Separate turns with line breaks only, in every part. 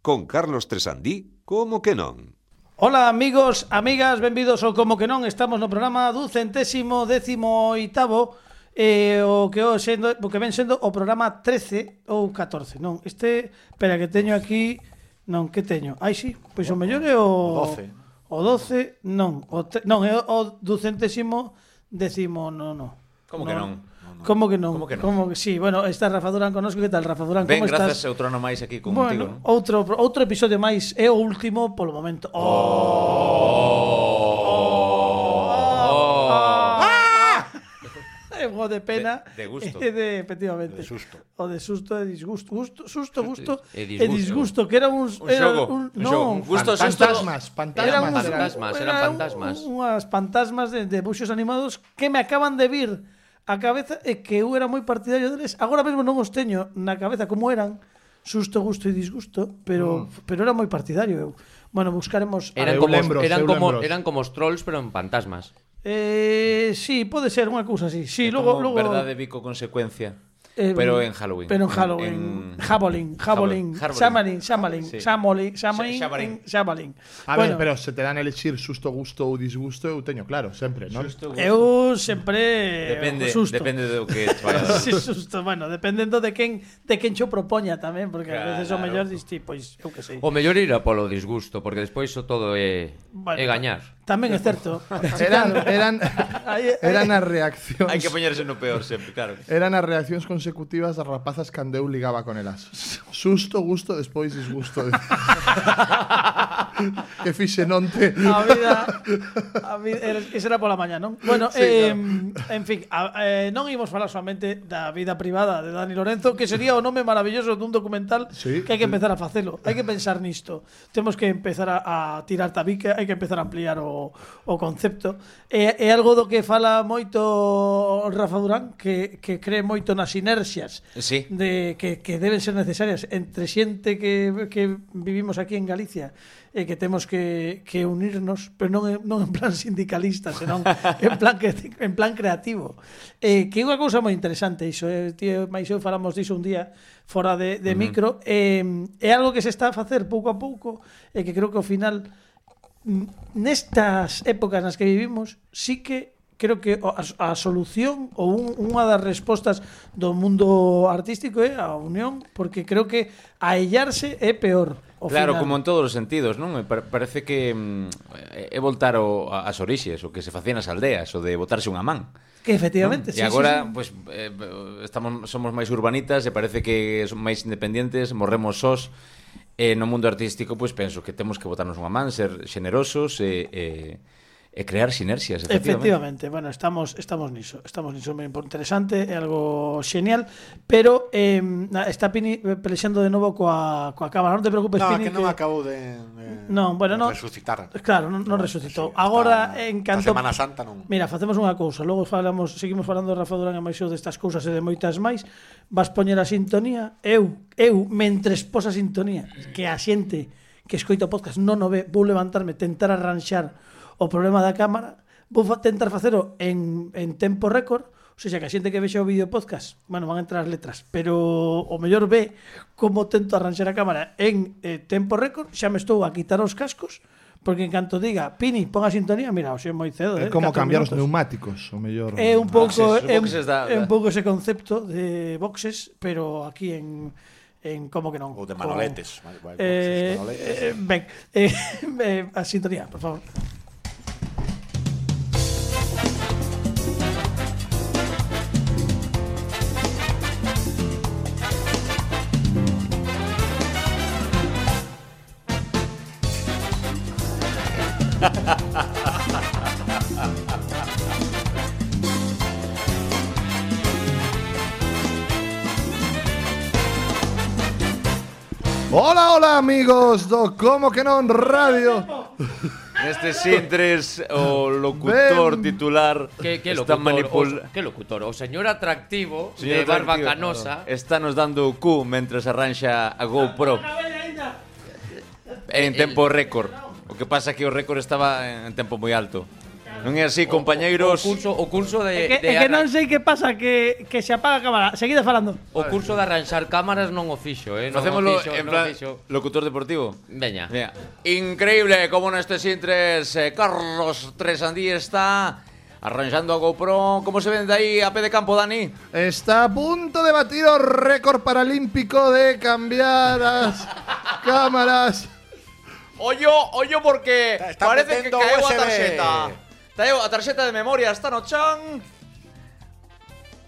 Con Carlos Tresandí, como que non?
Ola amigos, amigas, benvidos ao Como que non Estamos no programa do centésimo décimo oitavo eh, o, que o, sendo, o que ven sendo o programa 13 ou 14 Non, este, espera que teño aquí Non, que teño? Ai si, pois o mellor é o...
12.
O 12, non o te, Non, é o, o do centésimo décimo no, no.
Como que non?
Como que non?
Como que non?
Como que sí, bueno, está Rafa Durán connosco, que tal Rafa Durán,
Ben,
como
grazas
estás?
a outro ano máis aquí
Bueno,
contigo. eh. Bueno,
outro outro episodio máis é o último polo momento. Oh. Oh.
Oh.
Ah! É bo de pena.
De- de gusto.
E de, efectivamente.
De susto.
O de susto e disgusto. Gusto, susto, gusto
e
e disgusto. Que era un...
Un
era
xogo,
Un,
un
no,
xogo, un gusto,
Gusto,
Fantasmas,
Era
fantasmas.
un-
Fantasmas, eran
era un-
fantasmas.
Unhas fantasmas de, de buxos animados que me acaban de vir a cabeza e que eu era moi partidario deles. Agora mesmo non os teño na cabeza como eran. Susto, gusto e disgusto,
Mm.
pero pero era moi partidario eu. Bueno, buscaremos
Ah,
Eran
eu
como,
lembros,
eran,
eu
como,
lembros.
eran como os trolls, pero en fantasmas.
Eh, sí, pode ser unha cousa así. Sí, logo logo
Verdade bico consecuencia.
eh,
pero en Halloween.
Pero en Halloween. Jabolin, Jabolin,
Jabolin.
Shamalin, Shamalin,
Sí.
Shamolin, Shamalin,
Xabarín.
en Shabalin.
A
Bueno,
ver, pero se te dan elixir susto, gusto ou disgusto, eu teño claro, sempre, non?
eu sempre o eh,
Depende,
susto.
depende do que te vaya a dar.
Sí, susto, bueno, dependendo de quen de quen cho propoña tamén, porque claro. a veces o
Claro.
mellor diste, pois, eu que sei.
O mellor ir a polo disgusto, porque despois o todo é,
Bueno.
é gañar.
Tamén é certo.
Eran, eran,
Aí-
eran
Hai
as
que
reaccións
poñerse no peor sempre, claro.
Eh,
que sí.
Eran as reaccións consecutivas das rapazas cando eu ligaba con elas. Susto, gusto, despois disgusto. que fixe nonte.
A vida, a vida era- ese era pola mañá, non? Bueno, sí,
Sí,
eh, claro. en fin, a, eh, non imos falar somente da vida privada de Dani Lorenzo, que sería o nome maravilloso dun documental
Sí.
que hai que empezar a facelo. Hai que pensar nisto. Temos que empezar a, a tirar tabique, hai que empezar a ampliar o, o concepto. É, é algo do que fala moito Rafa Durán, que, que cree moito nas inercias
Sí.
de que, que deben ser necesarias entre xente que, que vivimos aquí en Galicia e que temos que, que unirnos, pero non, en- non en plan sindicalista, senón en plan que en plan creativo. Eh, que é unha cousa moi interesante iso, eh, tío, mais eu falamos diso un día fora de, de uh -huh. micro, eh, é algo que se está a facer pouco a pouco e que creo que ao final mm, nestas épocas nas que vivimos, sí que creo que o- a, a solución ou un, unha das respostas do mundo artístico é a unión, porque creo que aellarse é peor. ao
Claro,
final.
como en todos os sentidos, non? E par- Parece que mm, é é voltar ao, a- ás orixes, o que se facían as aldeas, o de botarse unha man.
que efectivamente,
E agora, pois, eh, estamos, somos máis urbanitas e parece que son máis independientes, morremos sós. E no mundo artístico, pois, penso que temos que botarnos unha man, ser xenerosos e, e, e crear sinerxias,
Efectivamente,
efectivamente.
bueno, estamos estamos niso, estamos niso moi interesante, é algo xenial, pero eh, na- está Pini pelexando de novo coa, coa cámara, non te preocupes,
No,
Pini.
que non acabou de, de
Non,
de
bueno, non.
resucitar.
Claro, non, non
No,
resucitou.
sí,
Agora
hasta-
en
hasta
canto
Semana Santa non.
Mira, facemos unha cousa, logo falamos, seguimos falando de Rafa Durán e máis eu destas cousas e de moitas máis. Vas poñer a sintonía, eu, eu mentres pos a sintonía, que a xente que escoita o podcast non o ve, vou levantarme, tentar arranxar o problema da cámara, vou fa- tentar facelo en, en tempo récord, ou seja, que a xente que vexe o vídeo podcast, bueno, van a entrar as letras, pero o mellor ve como tento arranxar a cámara en eh, tempo récord, xa me estou a quitar os cascos, porque en canto diga, Pini, pon a sintonía, mira, o xe moi cedo,
É
eh,
como
catro
cambiar os
minutos.
neumáticos, o mellor.
É Eh, un pouco
Boxes,
é un,
boxes da-
é un pouco ese concepto de boxes, pero aquí en en como que non.
Ou de
con-
manoletes, vai- vai, boxes,
Eh,
manoletes.
eh, ben, eh, eh, a sintonía, por favor.
Hola, hola, amigos do Como que non radio.
Neste sintres, o locutor
Ben.
titular
Que, que
está
locutor,
manipul...
o, que locutor, o señor atractivo
Señor
de barba
atractivo,
canosa.
Está nos dando o cu mentres arranxa a GoPro en tempo récord. O que pasa é que o récord estaba en tempo moi alto. Non é así, compañeiros.
O curso, o curso
É
de,
que,
Eh, de
é que non
arran-
sei que pasa que, que se apaga a cámara. Seguida falando.
o curso de arranxar cámaras non o fixo, eh? Non
Facémoslo
o fixo,
en
non
plan
o fixo.
locutor deportivo.
Veña.
Mira, Increíble como nuestro Sintres eh, Carlos Tresandí está arranjando a GoPro. ¿Cómo se vende ahí a P de campo, Dani?
Está a punto de batir el récord paralímpico de cambiar las cámaras.
Ollo, ollo porque
Está- está
parece que
metendo
caeu a
USB.
tarxeta. Caeu a tarxeta de memoria, está no chan.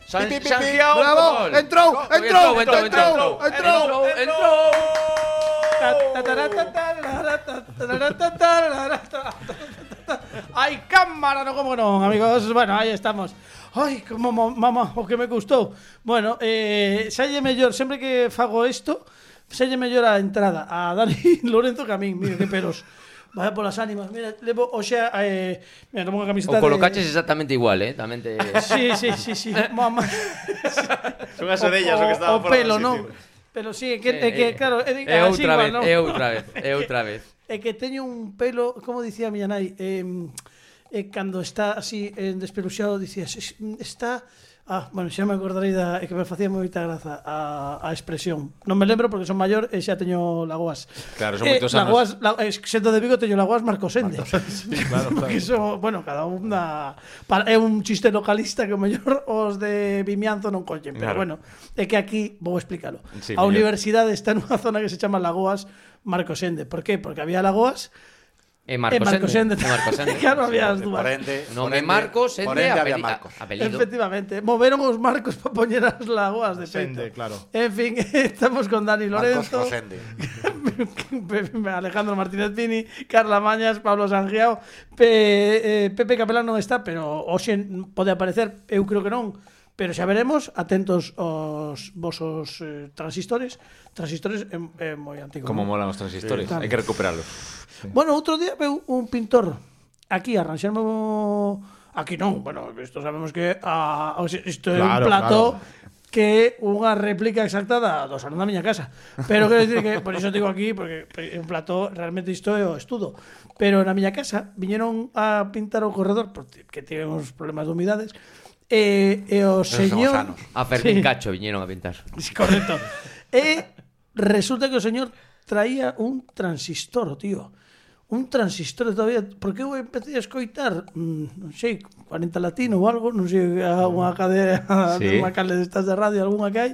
San,
Pi, pi, pi, pi.
Sanjiao,
Bravo,
gol.
entrou,
Gol,
entrou,
entrou,
entrou,
entrou, entrou,
entrou,
entrou.
Ai, cámara, no como non, amigos Bueno, aí estamos Ai, como mo- mamá, o que me gustou Bueno, eh, salle mellor Sempre que fago isto Salle mellor a entrada A Dani Lorenzo que a min, mira que pelos Vaya polas ánimas, mira, levo o xa eh, Mira, levo unha
O
camiseta
colocaches
de...
exactamente igual, eh? Tamén te...
Sí, sí, sí, sí Mamá
Son as orellas o que estaba
o
fora do
pelo,
sitio.
non Pero sí, é que, é que claro É, de-
Eh, é
así
outra
igual,
vez, eh,
non?
é outra vez, é outra vez.
É que teño un pelo, como dicía miña nai, eh, eh, cando está así eh, despeluxado, dicía, "Es- está... Ah, bueno, xa me acordarei da é que me facía moita graza a, a expresión. Non me lembro porque son maior e xa teño lagoas.
Claro, son
eh,
moitos anos.
lagoas, la, eh, sendo de Vigo teño lagoas Marcosende. claro, claro. Porque son, bueno, cada un da para, é un chiste localista que o mellor os de Vimianzo non collen, pero
Claro.
bueno, é que aquí vou explicalo.
Sí,
a
mellor.
universidade está nunha zona que se chama Lagoas Marcosende. Por qué? Porque había lagoas e
É
Marcosende.
Marcosende. É Marcosende.
Eh, claro, había as dúas.
Por ende,
Non
por
é
ende-
Marcos, é
por
de
ende había
apeli-
Marcos.
a- apelido.
Efectivamente, moveron os marcos para poñer as lagoas de peito.
Sende, claro.
En fin, estamos con Dani
Marcos
Lorenzo,
Rosende.
Alejandro Martínez Pini, Carla Mañas, Pablo Sangiao, Pe, eh, Pepe Capelán non está, pero hoxe pode aparecer, eu creo que non, pero xa veremos, atentos aos vosos eh, transistores, transistores é, é moi antigo.
Como
non?
molan os transistores,
Sí.
hai que recuperarlos.
Bueno, outro día veu un pintor aquí arranxarme o... Aquí non, bueno, isto sabemos que ah, o sea, isto é un
Claro,
plato
claro.
que é unha réplica exacta da do salón da miña casa. Pero quero dicir que por iso digo aquí porque é un plato realmente isto é o estudo. Pero na miña casa viñeron a pintar o corredor porque tivemos problemas de humidades e, e o
somos
señor
sanos.
A
Sí.
Fermín Cacho viñeron a pintar.
Sí, correcto. e resulta que o señor traía un transistor, tío. Un transistor todavía, porque eu empecé a escoitar, mm, non sei, 40 latino ou algo, non sei, a unha cadea,
Sí.
Mm. sí. unha cale destas de radio, algunha que hai,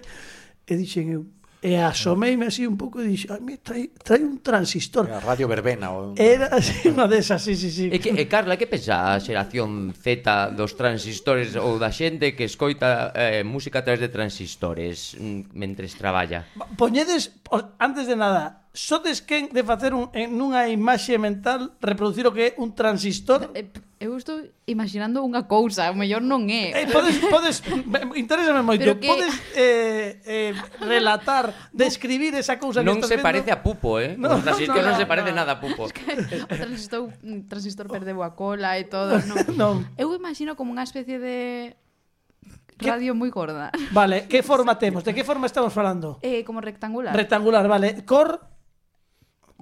e dixen eu, e asomeime así un pouco e dixen, ai, mira, trae, trae un transistor.
Era Radio Verbena. O...
Era así unha desas, sí, sí, sí.
E, Eh, que, e Carla, que pensa a xeración Z dos transistores ou da xente que escoita eh, música a través de transistores mm, mentres traballa?
Poñedes, o- antes de nada, sodes quen de facer un, en unha imaxe mental reproducir o que é un transistor?
Eh, Eu estou imaginando unha cousa, o mellor non
Eh,
é.
podes, podes, me- interésame moito,
Pero que-
podes eh, eh, relatar, describir esa cousa
Non
que
se
estás
parece a Pupo, eh?
No,
No, o transistor
no,
non
no,
se parece
no.
nada a Pupo.
O transistor, mm, transistor perdeu a cola e todo, non.
Non.
Eu imagino como unha especie de radio moi gorda.
Vale, que forma temos? De que forma estamos falando?
Eh, como rectangular.
Rectangular, vale. Cor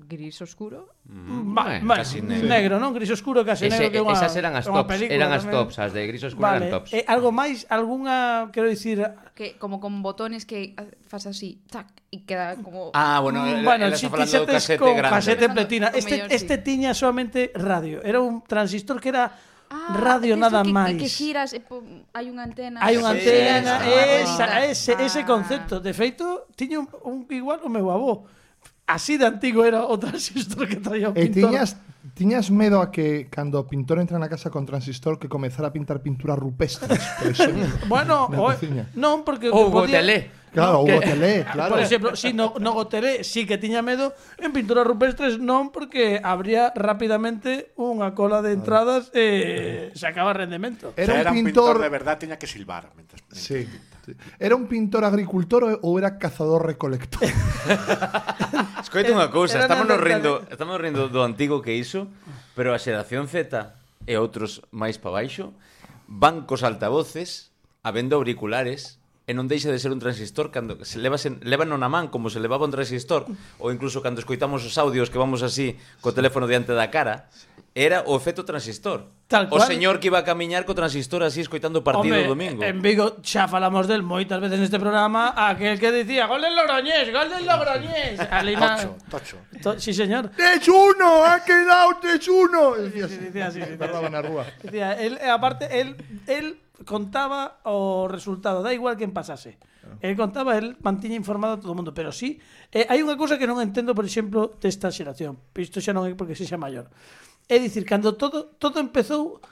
Gris oscuro.
ma-
eh,
ma-
casi
negro.
negro.
non? Gris oscuro, casi
Ese,
negro que é unha,
esas eran
é
as
unha
tops,
película
eran as
tamén.
tops, as de gris oscuro
Vale.
eran tops.
Eh, algo máis, algunha, quero dicir,
que como con botones que ah, fas así, tac, y queda como...
Ah, bueno,
mm,
él,
bueno,
él está falando do
chiquisetes
casete
con
grande.
casete
Pensando-
pletina.
o
Este
mellor, sí.
este tiña solamente radio, era un transistor que era
Ah,
radio
de esos
nada
que,
máis.
Que, que giras, e po- hai unha antena.
Hai unha
Sí,
antena,
sí, sí.
esa, ese, ese
Ah.
concepto. De feito, tiña un, un igual o meu avó. Así de antigo era o transistor que traía o
E
pintor.
tiñas, tiñas medo a que cando o pintor entra na casa con transistor que comezara a pintar pinturas rupestres, por exemplo.
Bueno,
Na
o,
cociña.
non, porque...
Ou
podía-
Gotelé.
Claro,
que-
hubo tele, claro.
Por exemplo, si no, no gotelé, sí que tiña medo. En pinturas rupestres non, porque habría rápidamente unha cola de entradas e eh, sacaba rendemento.
Era un
un
pintor,
de verdad, tenía que silbar. Mientras, mientras-
Sí. sí. Era un pintor agricultor o- ou era cazador recolector?
Escoita unha cousa,
Era
estamos nos
neandertal.
rindo, estamos nos rindo do antigo que iso, pero a xeración Z e outros máis pa baixo van cos altavoces, habendo auriculares e non deixa de ser un transistor cando se levas en, levan na man como se levaba un transistor ou incluso cando escoitamos os audios que vamos así co teléfono diante da cara era o efecto transistor
Tal
o
cual.
señor que iba a camiñar co transistor así escoitando o partido
Home, eh,
o domingo
En Vigo xa falamos del moitas veces neste programa aquel que dicía gol del Logroñés, gol del Logroñés. Ali na...
Tocho, tocho.
To- Sí, señor.
3-1, ha quedado 3-1.
Sí, sí, decía así, decía
Tardaba na rúa.
así. Decía, él, eh, aparte, él, él contaba o resultado, da igual quen pasase. Él contaba, él mantiña informado a todo o mundo, pero sí, eh, hai unha cousa que non entendo, por exemplo, desta xeración. Isto xa non é porque sexa maior. É dicir, cando todo todo empezou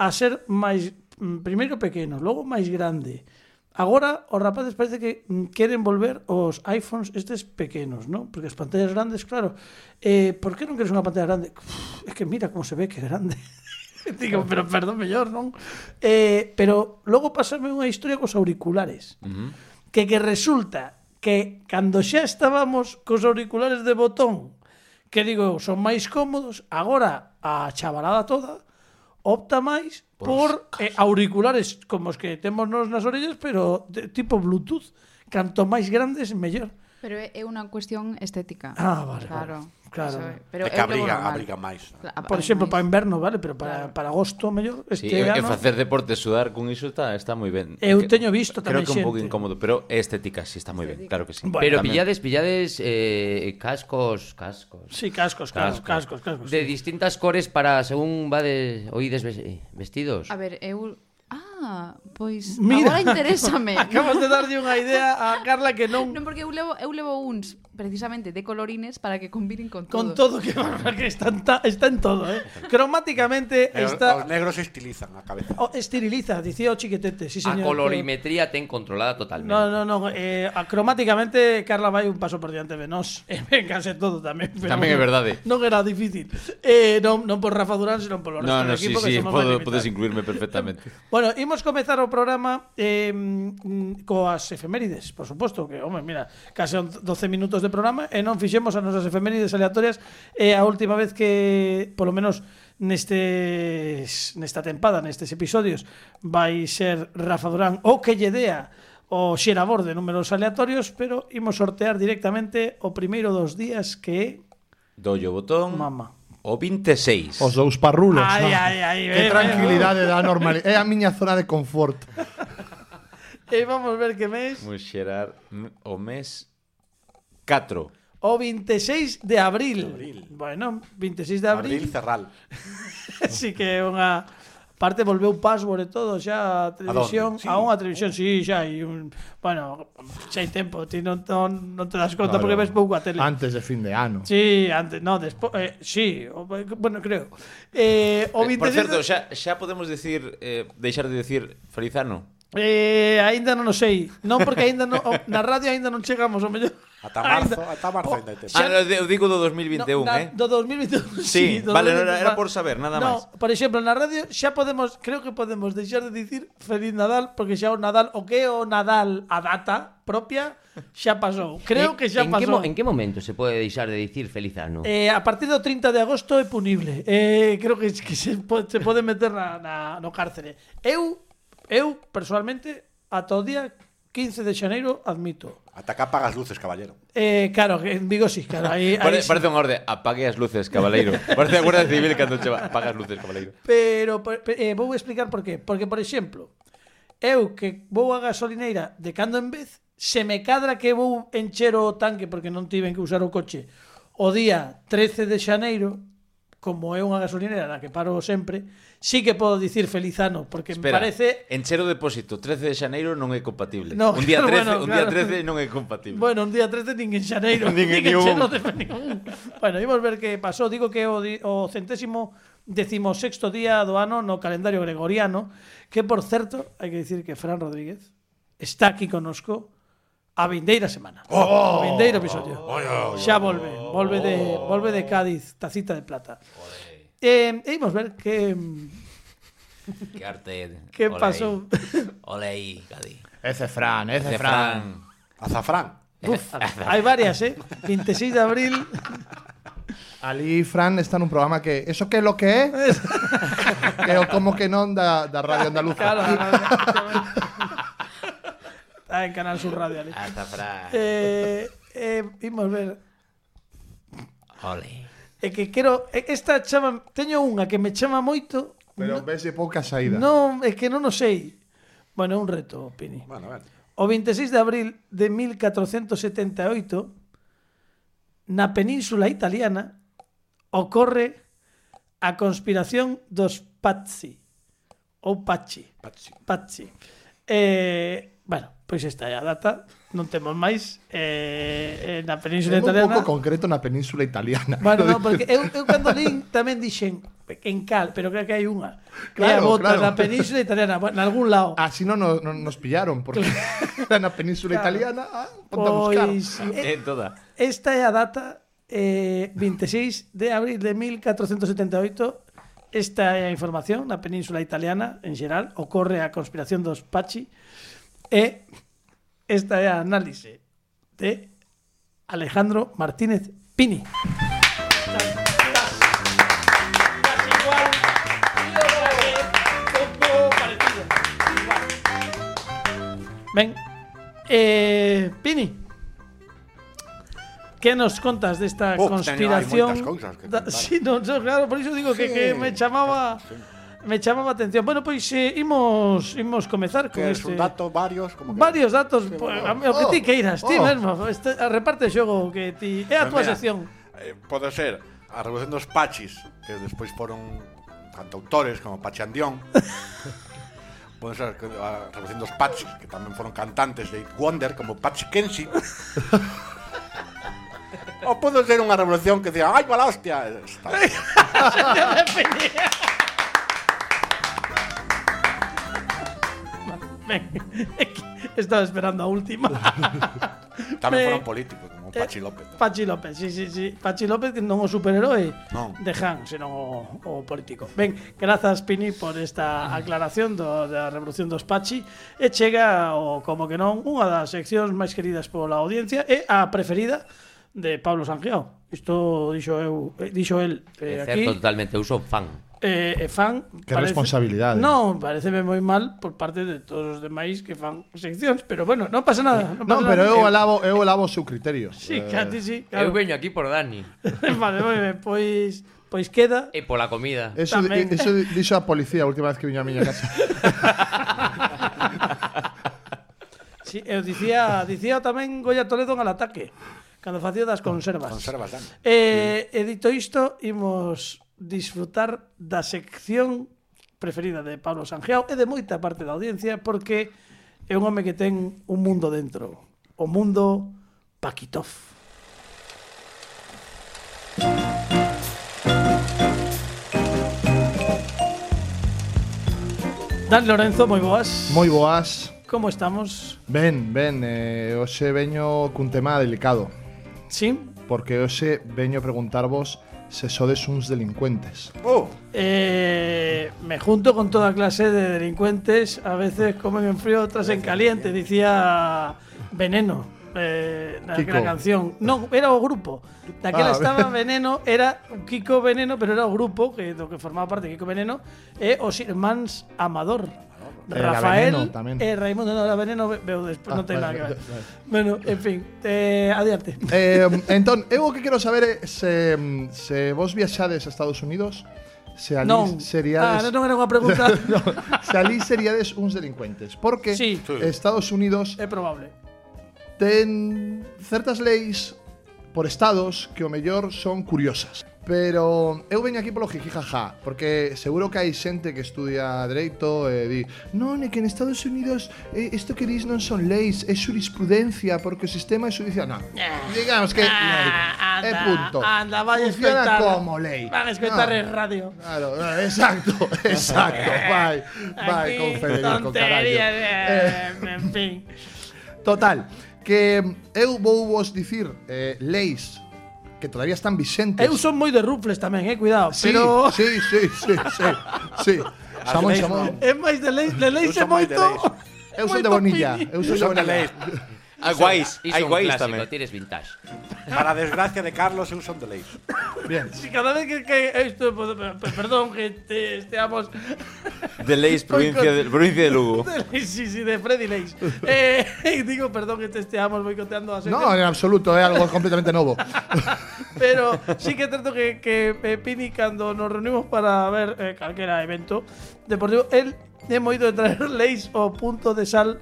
a ser máis mm, primeiro pequeno, logo máis grande. Agora os rapaces parece que mm, queren volver os iPhones estes pequenos, non? Porque as pantallas grandes, claro. Eh, por que non queres unha pantalla grande? Uf, é que mira como se ve que é grande. Digo, pero perdón, mellor, non? Eh, pero logo pasarme unha historia cos auriculares. Uh -huh. Que que resulta que cando xa estábamos cos auriculares de botón, que digo, eu, son máis cómodos, agora a chavalada toda opta máis por, eh, auriculares como os que temos nos nas orellas, pero de, tipo Bluetooth. Canto máis grandes, mellor.
Pero é é unha cuestión estética.
Ah, vale,
Claro.
vale. Claro.
eso é.
Pero
Pero é
que
algo
abriga,
normal.
abriga máis.
Cla- ab-
Por exemplo, para
ademais.
inverno, vale, pero para,
Ah, Claro.
para agosto, mellor, este
Sí, e, e
verano...
facer deporte, sudar con iso está está moi ben.
Eu
Que-
teño visto tamén
Creo que é un pouco
xente.
incómodo, pero é estética, si está moi ben, claro que sí.
Bueno,
Pero
Tamén.
pillades, pillades eh, cascos, cascos.
Sí, cascos, claro,
Cascos.
cascos, cascos.
De distintas cores para según va de oídes ves- vestidos.
A ver, eu... Ah, pois...
Mira.
Agora interésame.
Acabas de darlle unha idea a Carla que non...
Non, porque eu levo, eu levo uns precisamente de colorines para que combinen con todo.
Con todo que, que está, en ta- está en todo, eh. Cromáticamente
Eh,
está
Os negros estilizan a cabeza.
o, esteriliza, dicía o chiquetete, sí
a
señor.
colorimetría ten controlada totalmente.
No, no, no, eh, a- cromáticamente Carla vai un paso por diante de nós. Eh, en case todo tamén. pero
Tamén é verdade.
Non era difícil. Eh, non, non por Rafa Durán, senón polo resto
No, no,
do
sí,
equipo que
sí,
somos
podo,
máis
podes
limitados.
incluirme perfectamente.
Bueno, imos comezar o programa eh, mm, coas efemérides, por suposto, que, home, mira, case on- 12 minutos de programa e non fixemos as nosas efemérides aleatorias e a última vez que, polo menos nestes, nesta tempada, nestes episodios, vai ser Rafa Durán o que lle dea o xerador de números aleatorios, pero imos sortear directamente o primeiro dos días que é
Dollo botón.
Mama.
O 26.
Os dous parrulos.
Ai,
ah.
ai, ai,
Que
ben,
tranquilidade da normalidade. É a miña zona de confort.
e vamos ver que mes
Imos xerar m- o mes 4.
O 26 de abril. Bueno, 26 de abril,
Abril Cerral.
sí que é unha parte volveu password e todo xa a televisión,
Sí.
a, unha televisión, sí, xa hai un, bueno, xa hai tempo, ti non, non, non te das conta
Claro.
porque ves pouco a tele.
Antes de fin de ano.
Sí, antes, no, despois, eh, sí, o, bueno, creo. Eh, o 26
Por certo,
de-
xa, xa podemos decir eh, deixar de decir Felizano.
Eh, aínda non o sei. Non porque aínda non, o- na radio aínda non chegamos, o mellor.
Ata marzo, ata marzo ainda hai tempo.
Oh,
Xa... Ah, no, eu digo do 2021,
na-
eh.
Do 2021.
Sí,
do
vale, no, era-
2021.
era por saber, nada
no,
máis.
por exemplo, na radio xa podemos, creo que podemos deixar de dicir Feliz Nadal, porque xa o Nadal, o que é o Nadal a data propia, xa pasou. Creo
Eh,
que xa
en Que,
pasou.
mo- en que momento se pode deixar de dicir feliz ano?
Eh, a partir do 30 de agosto é punible. Eh, creo que, que se, po- se pode meter na, na, no cárcere. Eu, eu, personalmente, ata o día 15 de xaneiro admito.
Ata cá apagas luces, caballero.
Eh, claro, que en Vigo sí, claro. Aí, aí
Pare,
sí.
parece unha orde, apague as luces, cabaleiro. Parece a Guardia Civil cando che va, apaga as luces, cabaleiro.
Pero pe- pe- eh, vou explicar por qué. Porque, por exemplo, eu que vou á gasolineira de cando en vez, se me cadra que vou encher o tanque porque non tiven que usar o coche o día 13 de xaneiro, como é unha gasolineira na que paro sempre, sí que podo dicir feliz ano, porque
Espera,
me parece...
encher o depósito 13 de xaneiro non é compatible.
No,
un día 13,
claro, bueno,
un día
claro.
13 non é compatible.
Bueno, un día 13 nin en xaneiro, nin,
Nin en
en
ningún.
xero de ningún. Bueno, imos ver que pasou. Digo que o, di- o centésimo decimosexto día do ano no calendario gregoriano, que, por certo, hai que dicir que Fran Rodríguez está aquí conosco a vindeira semana. Oh, o vindeiro episodio. Xa volve, volve de, volve de Cádiz, tacita de plata. Eh, e imos ver que
Que arte.
que pasou.
Ole aí, Gadi.
Ese Fran, ese Fran.
Fran.
Azafrán.
Uf, hai varias, eh? 26 de abril
Ali Fran está nun programa que eso que é lo que é? que o como que non da, da Radio Andaluza.
Claro, claro, claro. está en Canal Sur Radio. ali.
Hasta Fran.
Eh, eh, imos ver.
Ole.
É que quero e- esta chama, teño unha que me chama moito.
Pero ves de pouca saída.
Non, é que non o sei. Bueno, é un reto, Pini.
Bueno, a ver.
O 26 de abril de 1478, na península italiana, ocorre a conspiración dos Pazzi. Ou Pachi.
Pachi.
Pachi. Eh, bueno, pois esta é a data. Non temos máis. Eh, eh, na
É
península
un
italiana...
pouco concreto na península italiana.
Bueno, no, porque eu, eu cando lín tamén dixen en Cal, pero creo que hai unha. Claro,
Claro,
a bota
claro. Ah,
na península italiana, bueno, en algún lado.
Así non nos, non nos pillaron, porque era na península
Claro.
italiana, ah, ponte a buscar.
pois
Eh,
eh,
toda.
esta é a data eh, 26 de abril de 1478. Esta é a información na península italiana en xeral ocorre a conspiración dos Pachi e esta é a análise de Alejandro Martínez Pini. Ben, eh, Pini, que nos contas desta
Uf, teño-
conspiración?
hai moitas cousas que
da,
contar.
sí, no, yo, claro, por iso digo que,
Sí.
que me chamaba me chamaba a atención. Bueno, pois eh, imos imos comezar con
Que es
este
un dato, varios, como que...
varios datos,
Sí,
pues,
bueno.
a mí, o que ti queiras, ti
oh.
mesmo, este, a reparte o xogo que ti é
Pues
a túa
mira,
sección.
eh, pode ser a revolución dos Pachis, que despois foron cantautores como Pachi Andión. pode ser que a revolución dos Pachis, que tamén foron cantantes de Eight Wonder como Pachi Kenshi. Ou pode ser unha revolución que diga, ai, mala hostia. Está.
Ben, é que estaba esperando a última.
Tamén
Me-
foron políticos como Pachi López.
Eh, Pachi López, sí, sí, sí. Pachi López que non o superheroe
Non.
de Han, senón o, o político. Ben, grazas Pini por esta aclaración do, da Revolución dos Pachi e chega o como que non unha das seccións máis queridas pola audiencia e a preferida de Pablo Sangiao. Isto dixo eu, eh, dixo el eh,
É
aquí.
certo totalmente, eu son fan.
eh, e fan
Que responsabilidade.
Non, pareceme moi mal por parte de todos os demais que fan seccións, pero bueno, non pasa nada, non,
Non,
pasa
pero
nada.
eu alabo, eu alabo o seu criterio. Eh,
Sí, que a ti sí,
Eh,
Claro. Eu
claro.
veño aquí por Dani
vale, moi ben, pois pois queda
e pola comida.
Eso,
Tamén.
di- eso di- dixo a policía a última vez que viña a miña casa.
Sí, eu dicía, dicía tamén Goya Toledo en al ataque, cando facía das conservas.
Conservas, Dan.
Eh, e dito isto, imos disfrutar da sección preferida de Pablo Sangeao e de moita parte da audiencia porque é un home que ten un mundo dentro, o mundo Pakitov. Dan Lorenzo, moi boas.
Moi boas.
Como estamos?
Ben, ben, eh, hoxe veño cun tema delicado.
Sí.
Porque hoxe veño preguntarvos se sodes uns delincuentes.
Oh,
Eh, me junto con toda clase de delincuentes, a veces comen en frío, otras en caliente, decía Veneno, eh, na
Kiko.
gran canción. No, era o grupo. Daquela
Ah,
estaba Veneno, era Kiko Veneno, pero era o grupo que, do que formaba parte de Kiko Veneno, e os irmáns Amador.
Era
Rafael
Eh, Veneno tamén.
e Raimundo, no, era Veneno, ve- veo despois,
Ah,
non ten nada
vale,
que ver.
vale.
Bueno, en fin, eh, adiante.
Eh, entón, eu o que quero saber é se, mm, se vos viaxades a Estados Unidos, se alí
Non,
seríades...
ah, non era unha pregunta,
no, se alí seríades uns delincuentes. Porque
Sí. Sí.
Estados Unidos
é probable.
ten certas leis por estados que o mellor son curiosas. Pero eu veño aquí polo jijijaja, porque seguro que hai xente que estudia dereito e di non, é que en Estados Unidos eh, isto que dis non son leis, é jurisprudencia, porque o sistema é judicial. Non, digamos que
Eh, Ah,
lei, é
anda,
punto.
anda, vai a
Funciona
escoitar-
como Ah. lei.
Van a escoitar
Non.
el radio.
Claro, eh, exacto, exacto. Vai, vai con Federico, carallo.
tonterías,
Eh,
eh, en fin.
Total, que eu vou vos dicir eh, leis que todavía están vixentes.
Eu son moi de rufles tamén, eh, cuidado,
sí,
pero
sí, sí, sí, sí, sí. Xamón,
leis non.
xamón.
é máis de leis, de
Eu
leis é
son máis de
moito.
leis.
Eu son
moito
de Bonilla,
pini.
eu son de
son de
Bonilla.
leis.
Hai guais,
Iso
hai
é un
guais
clásico,
tamén.
tires vintage.
Para desgracia de Carlos Euson de Ley.
Bien.
Si cada vez que, que esto, pues, per- perdón, que te- esteamos
De Leis, provincia de, provincia de Lugo.
sí, sí, de Freddy Lace. Eh, digo, perdón que te esteamos boicoteando a
No, en absoluto, es algo completamente nuevo.
Pero sí que es cierto que, que eh, Pini, cuando nos reunimos para ver eh, cualquier evento deportivo, él hemos ido a traer leis o punto de sal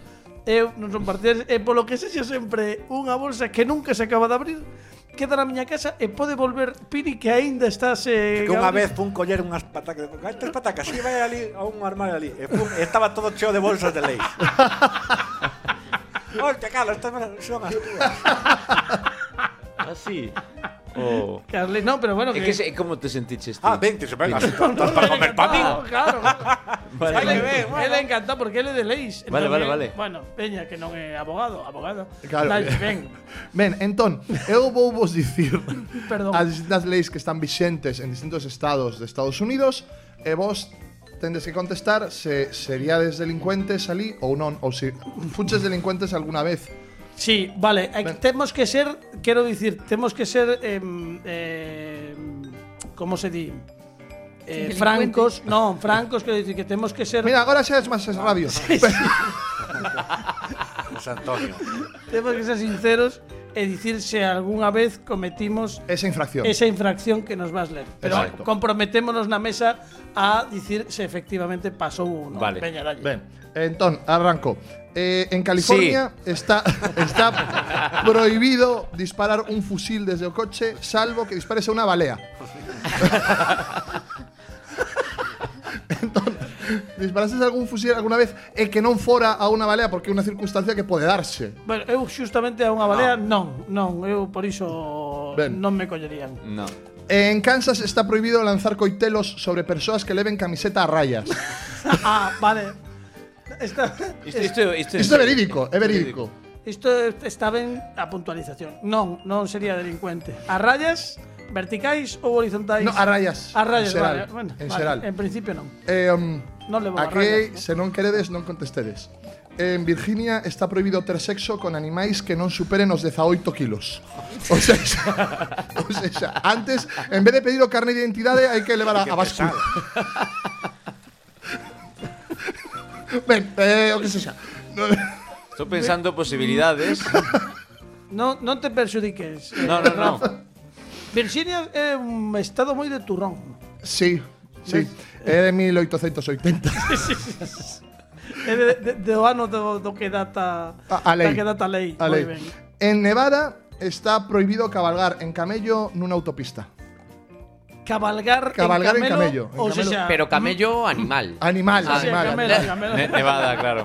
eh, non son partidas, e polo que sexa sempre unha bolsa que nunca se acaba de abrir queda na miña casa e pode volver Pini que aínda estás eh,
Que unha
Gabriel.
vez fun coller unhas patacas, estas patacas, si vai ali a un armario ali, e fun, e estaba todo cheo de bolsas de leis. Hostia, Carlos, estas me las- son as túas.
Así. Ah, Oh.
Que as leis- non, pero bueno
É que, se- como te sentiches ti?
Ah, 20, se venga, así,
No,
todas
no,
para
él
comer para
encantado,
mí.
Claro.
Vale,
Él-
vale.
él,
bueno.
é encantado porque ele é de leis.
Vale,
entón
vale,
é-
vale.
Bueno, Peña, que non é abogado, abogado.
Claro.
Dalle, ben.
Ben, entón, eu vou vos dicir
Perdón.
as distintas leis que están vixentes en distintos estados de Estados Unidos e vos tendes que contestar se seríades delincuentes ali ou non, ou se fuches delincuentes alguna vez.
Sí, vale. eh,
Ven.
Tenemos que ser, quiero decir, tenemos que ser, em, em, ¿cómo se dice?
Delincuente.
francos, no, francos, quiero decir que tenemos que ser,
Mira, agora xa es máis rabio.
José Antonio.
tenemos que ser sinceros y decir si alguna vez cometimos
Esa infracción.
esa infracción que nos vas a leer. Pero
Eh, Exacto.
comprometémonos en la mesa a decir si efectivamente pasó uno.
Vale.
Veña, dalle.
Ben, entón, arranco. Eh, en California está, está prohibido disparar un fusil desde o coche, salvo que dispares a una balea. entón, disparases algún fusil alguna vez e que non fora a una balea porque é unha circunstancia que pode darse.
Bueno, eu justamente a una balea, no, no, eu por eso
Ven.
no me collerían.
No.
En Kansas está prohibido lanzar coitelos sobre persoas que leven camiseta a rayas.
ah, vale. Esta,
Isto, isto, isto,
Isto é verídico, é verídico.
Isto estaba en a puntualización. Non, non sería delincuente. A rayas verticais ou horizontais?
No, a rayas.
A rayas,
En xeral,
vale. Bueno,
en
vale,
xeral.
en principio non.
Eh, um,
Non levo a
Aquí,
rayas.
se non queredes, non contestedes. En Virginia está prohibido ter sexo con animais que non superen os 18 kilos. Ou seja, ou seja antes, en vez de pedir o carne de identidade, hai que levar a, a bascula. Ben, eh, o que sexa. No,
Estou pensando posibilidades.
Non, non te perxudiques. eh,
No, no, no.
Rafa. Virginia é un estado moi de turrón.
sí, sí. É de 1880.
É de, de, do ano do, do que data
A- a
Da
lei.
que data a lei.
A
moi
lei.
ben.
En Nevada está prohibido cabalgar en camello nunha autopista.
Cabalgar,
Cabalgar en
en camelo.
camello, en
ou
camelo.
sexa,
Pero camello animal.
Animal,
sí, sí,
animal,
camelo,
animal.
camelo.
Ne- Nevada, claro.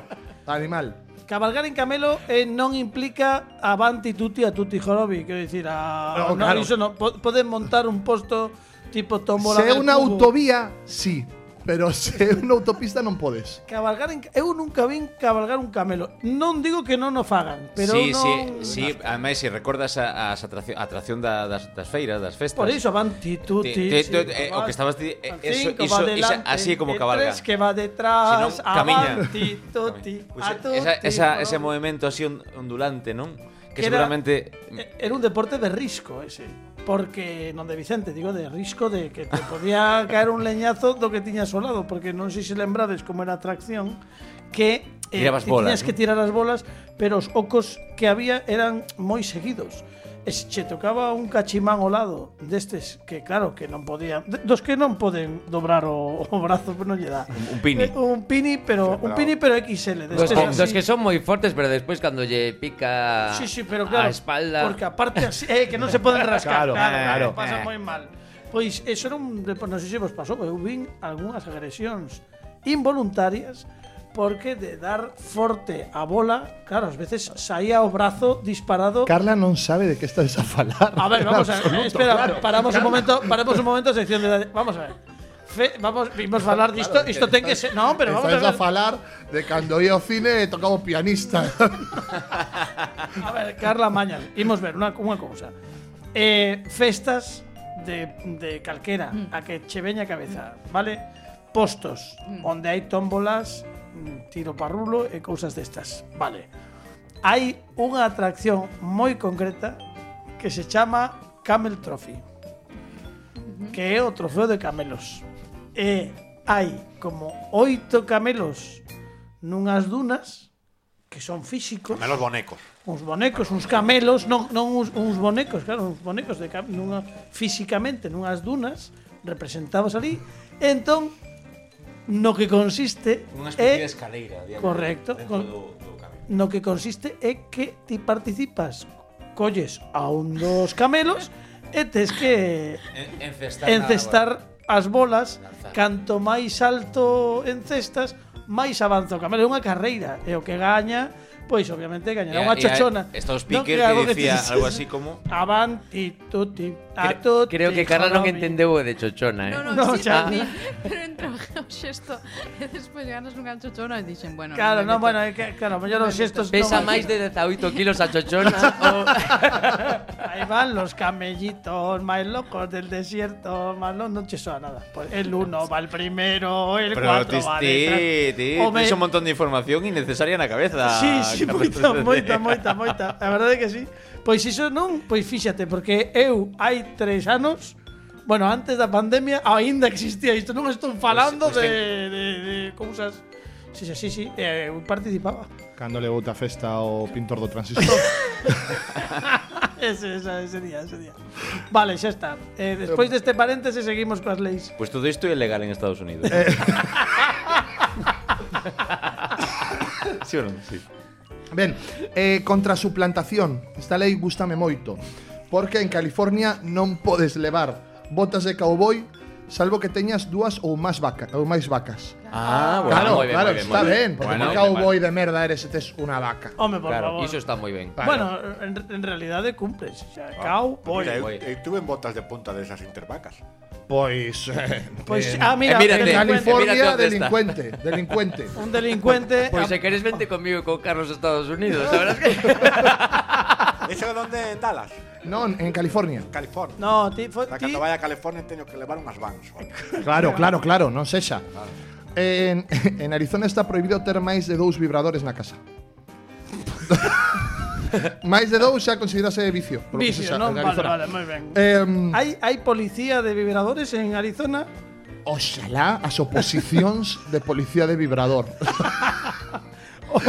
animal.
Cabalgar en camelo eh, non implica avanti tutti a tutti jorobi, quero dicir, a
No, claro.
iso non. Po- poden montar un posto tipo tómbola.
Se é
del
unha
cubo.
autovía, sí. Pero se é unha autopista non podes.
Cabalgar en eu nunca vin cabalgar un camelo. Non digo que non o fagan, pero
sí,
non
sí, sí, ademais se recordas a, as atración, a atracción da, das, das feiras, das festas.
Por iso avanti tutti.
Te- te-
cinco
te- eh, o
va-
que estabas di- eh, eso-
cinco
iso-
va
esa-
delante,
así
e
como cabalga.
Tres que va detrás,
Si non, camiña.
avanti tutti.
Pois
a tutti
Pues, esa, esa, ese
jorobi.
movimento así on- ondulante, non?
Que
Que
era-
seguramente
Eh, Era un deporte de risco ese. Porque, non de Vicente, digo de risco de que te podía caer un leñazo do que tiñas ao lado, porque non sei se lembrades como era a atracción que
Tirabas
ti tiñas
bolas, ¿no?
que tirar as bolas, pero os ocos que había eran moi seguidos. E se che tocaba un cachimán ao lado destes que claro que non podían, de- dos que non poden dobrar o, o brazo, pero non lle dá.
Un- un pini.
Eh, un pini, pero un pini pero XL,
Dos
destes
que,
así.
dos que son moi fortes, pero despois cando lle
Este,
pica
Sí, sí, pero claro.
a espalda...
Porque aparte así, eh, que non se poden rascar.
Claro,
claro,
claro.
claro, Pasa
Eh.
moi mal. Pois eso era un, depo- non sei se vos pasou, eu vin algunhas agresións involuntarias porque de dar forte a bola, claro, ás veces saía o brazo disparado.
Carla non sabe de que estás a falar.
A ver, vamos a ver.
Absoluto,
espera,
claro.
paramos un momento, paramos un momento, sección de edades. Vamos a ver. Fe- vamos, vimos falar disto, isto ten que ser, non, pero vamos a ver.
Estás a falar de cando ia ao cine e tocaba o pianista.
A ver, Carla Mañas, imos ver unha, unha cousa. Eh, festas de, de calquera, a que che veña a cabeza, vale? Postos, onde hai tómbolas, mm, tiro parrulo e cousas destas, vale? Hai unha atracción moi concreta que se chama Camel Trophy que é o trofeo de camelos. E hai como oito camelos nunhas dunas que son físicos,
Menos bonecos.
uns bonecos, uns camelos, non, non uns, uns bonecos, claro, uns bonecos de cam- nunha, físicamente nunhas dunas representados ali. E entón, no que consiste é
escaleira.
Eh, Correcto. dentro Con- do- no que consiste é que ti participas, colles a un dos camelos e tes que
Encestar.
encestar as bolas canto máis alto encestas máis avanza o camelo é unha carreira e o que gaña pois obviamente gañará unha chochona
Está
Non
o speaker
creo
que decía
tes-
algo así como...
avanti tutti a
Creo,
tutti
creo que Carla non
Jacobi.
entendeu o de chochona, eh.
No, no,
No,
sí,
xa.
sí, pero entre o xesto e despois ganas un gancho chono e dixen, bueno...
claro,
me
non,
meto.
bueno, eh". é que, claro, mellor os xestos
Pesa
non-
máis de 18 kilos a chochona ou...
Ahí van los camellitos más locos del desierto, más locos, no te suena nada. Pues el uno va el primero, el
Pero
cuatro
ti,
va
ti,
detrás.
ti,
O
tens
me-
un montón de información innecesaria na cabeza.
Sí, sí,
Carlos.
moita, moita, moita, moita. A verdade é que sí. Pois iso non, pois fíxate, porque eu hai tres anos, bueno, antes da pandemia, aínda existía isto, non estou falando
Pois- pois
de, de, de cousas. Sí, sí, sí, sí, eh, eu participaba.
Cando le outra festa ao pintor do transistor.
Ese, esa, ese día, ese día. Vale, xa está. Eh, despois deste paréntese seguimos coas leis.
Pois Pues todo isto é legal en Estados Unidos.
Eh,
sí ou non? Sí.
Ben, eh, contra a suplantación. Esta lei gustame moito. Porque en California non podes levar botas de cowboy salvo que teñas dúas ou máis vaca, ou máis vacas.
Ah, bueno,
Pues
claro,
moi ben,
claro,
moi ben,
está
moi ben.
ben, porque
Bueno,
bueno, cowboy de merda eres se tes unha vaca.
Home, por
Claro,
favor.
Iso está moi ben.
Bueno, en, en realidad de cumples. O sea, cow, boy.
Mira, eu,
voy.
eu tuve en botas de punta de esas intervacas.
Pois,
Pois,
eh,
ah, mira,
eh, mírate,
en
delincuente.
California
mira dónde está.
delincuente, delincuente.
un delincuente. ah,
Pois se queres vente comigo e con Carlos a Estados Unidos, a verdad es que...
Eso é donde en Dallas,
non, en California.
California.
No, ti, fue,
Para
ti-
cando vaya a California teño que levar unhas vans. ou algo.
Claro, claro, claro, non sexa. En, en Arizona está prohibido ter máis de dous vibradores na casa. máis de dous xa considerase vicio. polo que
vicio,
sexa,
¿no?
en
Vale,
Arizona.
vale, muy bien.
Em,
¿Hay, ¿Hay policía de vibradores en Arizona?
oxalá as oposicións de policía de vibrador.
O,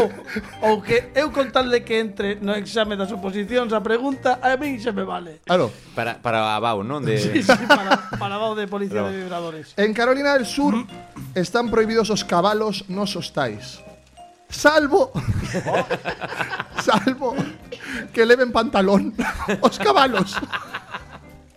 o que eu con tal de que entre no exame das oposicións a pregunta, a mí se me vale.
Claro.
Para, para Abao, non? De...
Sí, sí, para, para vao de policía
Bravo.
de vibradores.
En Carolina del Sur
Mm.
están prohibidos os cabalos nos hostais. Salvo Salvo que leven pantalón os cabalos.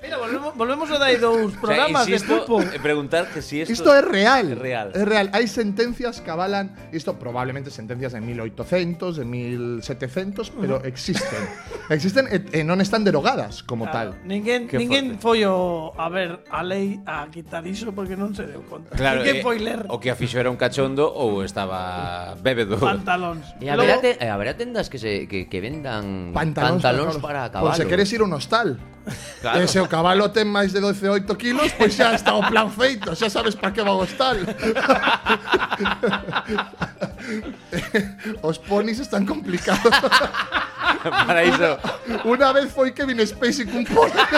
Mira, volvemos, volvemos a dar dos programas de pulpo.
en preguntar que si esto...
Esto es real.
Es real.
Es real. Hay sentencias que avalan esto, probablemente sentencias de 1800, de 1700, pero existen. existen y no están derogadas como
Claro,
tal.
Ninguén,
Qué
ninguén
fuerte.
foi o, a ver a lei a quitar iso porque non se deu conta.
Claro,
ninguén
eh,
foi ler
o que a fixo era un cachondo ou estaba bebedo.
pantalóns.
E haberá, te, e haberá tendas que, se, que, que vendan
Pantalóns,
pantalóns,
cabalos.
para
Por
acabar.
si quieres ir a un hostal.
Claro.
Ese o cabalo ten máis de 12 8 kilos, pois xa está o plan feito, xa sabes para que va o hostal. Os ponis están complicados.
para iso.
Una vez foi Kevin Spacey cun pony.